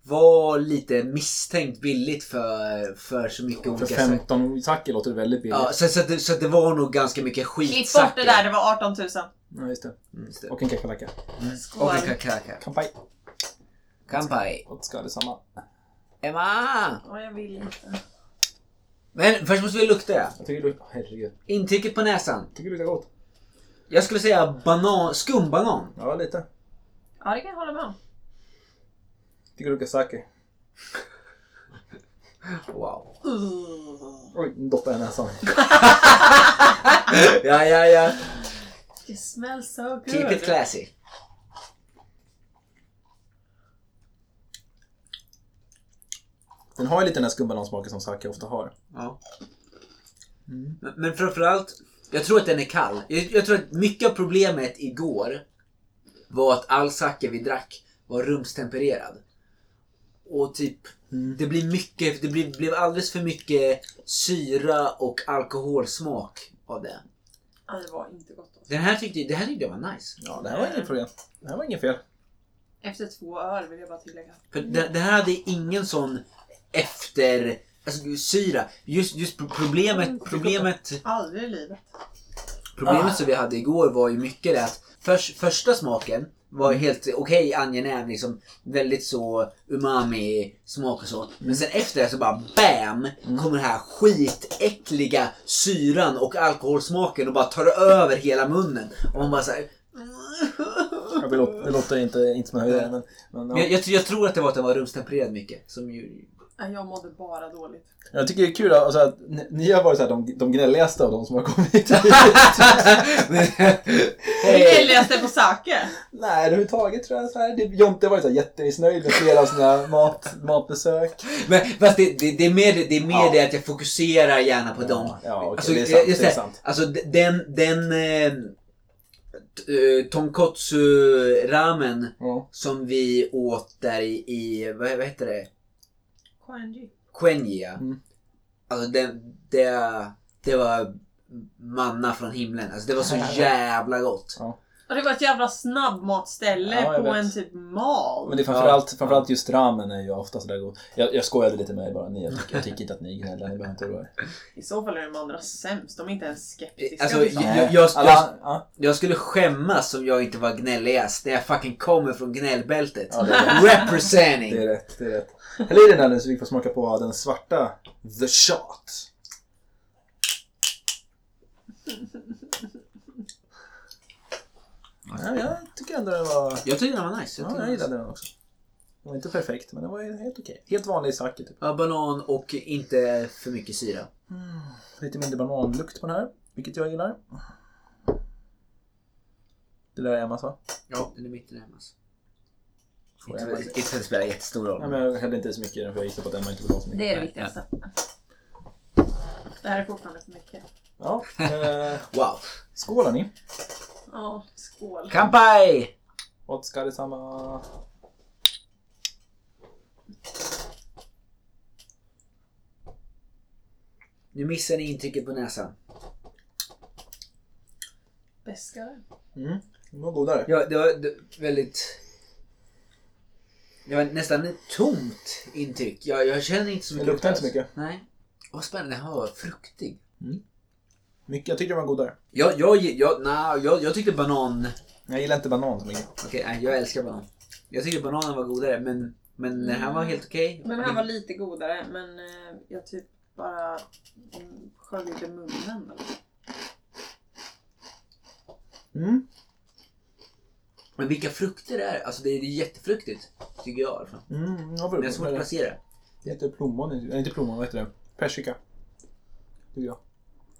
var lite misstänkt billigt för, för så mycket För olika saker. 15 saker låter det väldigt billigt. Ja, så, så, att det, så att det var nog ganska mycket Klipp bort skitsaker. det där, det var 18 000. Ja, just det. Mm, just det. Och en kackerlacka. Skål. Och en kakaka. Kampai. Kampai. Och ska detsamma. Emma! Åh, jag vill inte. Men först måste vi lukta. Jag tycker det luktar... Herregud. Intrycket på näsan. Jag tycker det luktar gott. Jag skulle säga banan, skumbanan. Ja, lite. Ja, det kan jag hålla med om. Jag tycker det luktar sake. Wow. Oj, nu doppade jag näsan. Ja, ja, ja. It smells so good. Keep it classy. Den har ju lite den här skumbanansmaken som sake ofta har. Ja. Men, men framförallt, jag tror att den är kall. Jag, jag tror att mycket av problemet igår var att all sake vi drack var rumstempererad. Och typ, det blir mycket, det blir, blev alldeles för mycket syra och alkoholsmak av det. Ja, det var inte gott. Den här tyckte, det här tyckte jag var nice. Ja, det här var inget problem. Det här var inget fel. Efter två öl vill jag bara tillägga. För det, det här hade ingen sån efter, alltså syra. Just, just pro- problemet, problemet Aldrig i livet. Problemet som vi hade igår var ju mycket det att förs- första smaken var helt okej, angenäm, liksom väldigt så umami smak och så. Men sen efter det så bara BAM! Kommer den här skitäckliga syran och alkoholsmaken och bara tar över hela munnen. Och man bara såhär... Ja, det låter- det låter inte, inte som en höjdare, men... men Men ja. Jag, jag, tror- jag tror att det var att den var rumstempererad mycket. Som ju... Ja, Jag mådde bara dåligt. Jag tycker det är kul alltså, att ni, ni har varit så här, de, de gnälligaste av de som har kommit hit. Gnälligaste på saker. Nej, överhuvudtaget tror jag så här. Det, Jonte har varit så här, jättemissnöjd med flera av sina mat, matbesök. Men fast det, det, det är mer, det, det, är mer Ja. det att jag fokuserar gärna på dem. ja okej, Alltså, det är sant. just Det är det. sant. Alltså d- den, den eh, t- eh, tonkotsu ramen Ja. som vi åt där i, i vad, vad heter det? KNG. Quenya. Mm. Alltså den, det, det var manna från himlen. Alltså det var så jävla gott. Och det var ett jävla snabbmatställe Ja, jag på vet. en typ mal. Men det är framförallt, framförallt just ramen är ju ofta sådär god. Jag, jag skojade lite med er bara. Ni, jag, tycker- jag tycker inte att ni gnäller, ni behöver inte oroa er. I så fall är de andra sämst. De är inte ens skeptiska. Alltså, liksom. jag- jag- jag- Alla, ja. Jag skulle skämmas om jag inte var gnälligast när jag fucking kommer från gnällbältet. Ja, det är Representing! Det är rätt, det är rätt. Häll i den här nu så vi får smaka på den svarta The Shot. Ja, jag tycker ändå det var... Jag tyckte den var nice. Jag Ja, tyckte den var jag nice. gillade den också. Den var inte perfekt, men den var ju helt okej. Helt vanlig sake, typ. Ja, banan och inte för mycket syra. Lite mindre bananlukt på den här, vilket jag gillar. Det där Emma sa. Ja, den är mitt i närmast. Får jag- Inte för att det spelar jättestor roll. Nej, men jag hällde inte så mycket i den för jag gissar på att Emma inte vill ha så mycket. Det är det viktigaste. Det här är fortfarande för mycket. Ja, eh, Wow. skål hörni. Ja, skål. Kampai! Åt ska detsamma. Nu missar ni intrycket på näsan. Beskare. Mm, den var godare. Ja, det var det, väldigt... Det var nästan ett tomt intryck. Jag, jag känner inte så Det mycket. luktar inte så alls. mycket. Nej. Vad spännande. Den här var fruktig. mycket. Jag tyckte den var godare. Jag, jag, jag, na, jag, jag tyckte banan... Jag gillar inte banan så mycket. Okej, nej, jag älskar banan. Jag tyckte bananen var godare, men, men den här var Mm. helt okej. Men den här var lite godare, men eh, jag typ bara mm, sköljde munnen. eller? Mm. Men vilka frukter det är. Alltså det är det är jättefruktigt. Tycker jag i alla fall. Mm, jag Men jag har svårt att var placera. Lite plommon, i- nej inte plommon, vad heter det? Persika. Tycker jag.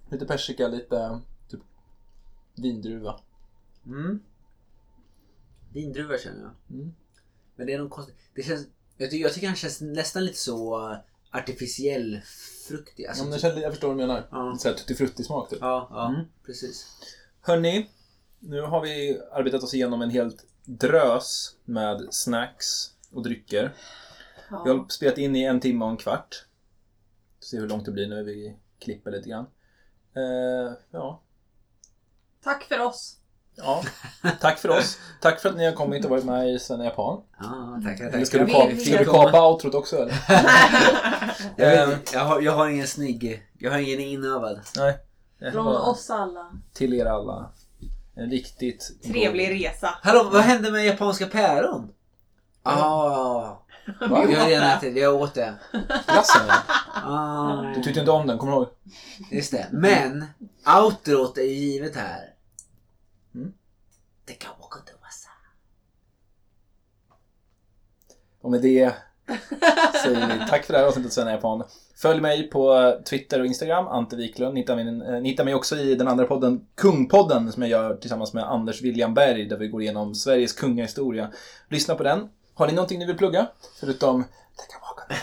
Lite Alltså, persika, lite typ vindruva. Mm. Vindruva känner jag. Mm. Men det är någon konstig... Det känns, jag, tycker, jag tycker han känns nästan lite så eh, artificiell fruktig. Alltså, Ja, men typ- jag, känner, jag förstår vad du menar. Ja. Såhär tuttifrutti-smak typ. ja, ja Mm. precis. Hörni, nu har vi arbetat oss igenom en helt drös med snacks och drycker. Vi har spelat in i en timme och en kvart. Får se hur långt det blir nu. Vi klipper lite grann. Eh, ja. Tack för oss. ja. Tack för oss. Tack för att ni har kommit och varit med i Sven Japan. Ja, tackar, Mm. Eller tackar. ska du, Vi- ka- vi- ska du kapa outrot också eller? Jag, vet, Eh, inte, jag, har, jag har ingen snygg. Jag har ingen inövad. Nej. Det här Från var oss alla. Till er alla. En riktigt god- Trevlig resa. Hallå, vad hände med japanska päron? Ah, Va? jag har redan ätit, jag åt det. Glassen, ja. Ah, Du tyckte inte om den, kommer du ihåg? just det. Men, outrot är ju givet här. Mm. Det kan vara gott att massa. Och med det säger vi tack för det här avsnittet Sven Japan. Följ mig på eh, Twitter och Instagram, Ante Wiklund. Ni hittar, min, eh, ni hittar mig också i den andra podden, Kungpodden, som jag gör tillsammans med Anders William Berg, där vi går igenom Sveriges kungahistoria. Lyssna på den. Har ni någonting ni vill plugga? Förutom Ehm.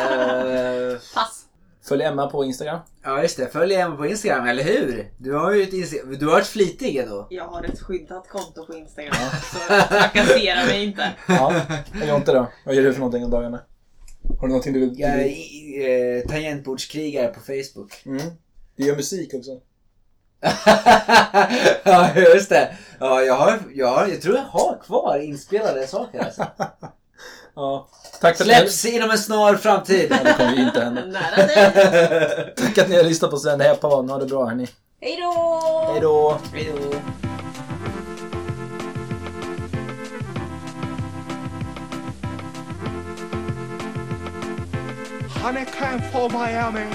Eh, Pass. Följ Emma på Instagram. ja, just det. Följ Emma på Instagram, eller hur? Du har ju ett Instagram. Du har varit flitig ändå. Jag har ett skyddat konto på Instagram. Så trakassera mig inte. Ja, och Jonte då? Vad gör du för någonting om dagarna? Har du någonting du vill? Jag är i- eh, tangentbordskrigare på Facebook. Mm. Du gör musik också. ja, just det. Ja, jag, har, jag, har, jag tror jag har kvar inspelade saker. Alltså. Ja. Tack för att ni... Släpps inom en snar framtid. Ja, det kommer ju inte hända. Nära dig. Tack att ni har lyssnat på Sven Japan. Ha det bra hörni. Hej då! Hej då! Hej då. Han är kram från Miami,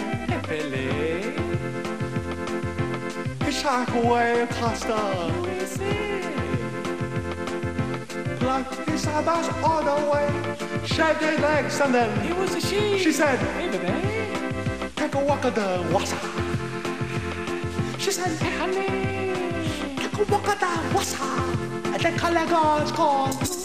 L.A. Chicago, Costa, USA. Plucked his eyebrows all the way, shaved his legs, and then it was a she. She said, "Hey, baby, take a walk at the wasa." She said, "Hey, honey, take a walk at the wasa." And the color guard's called.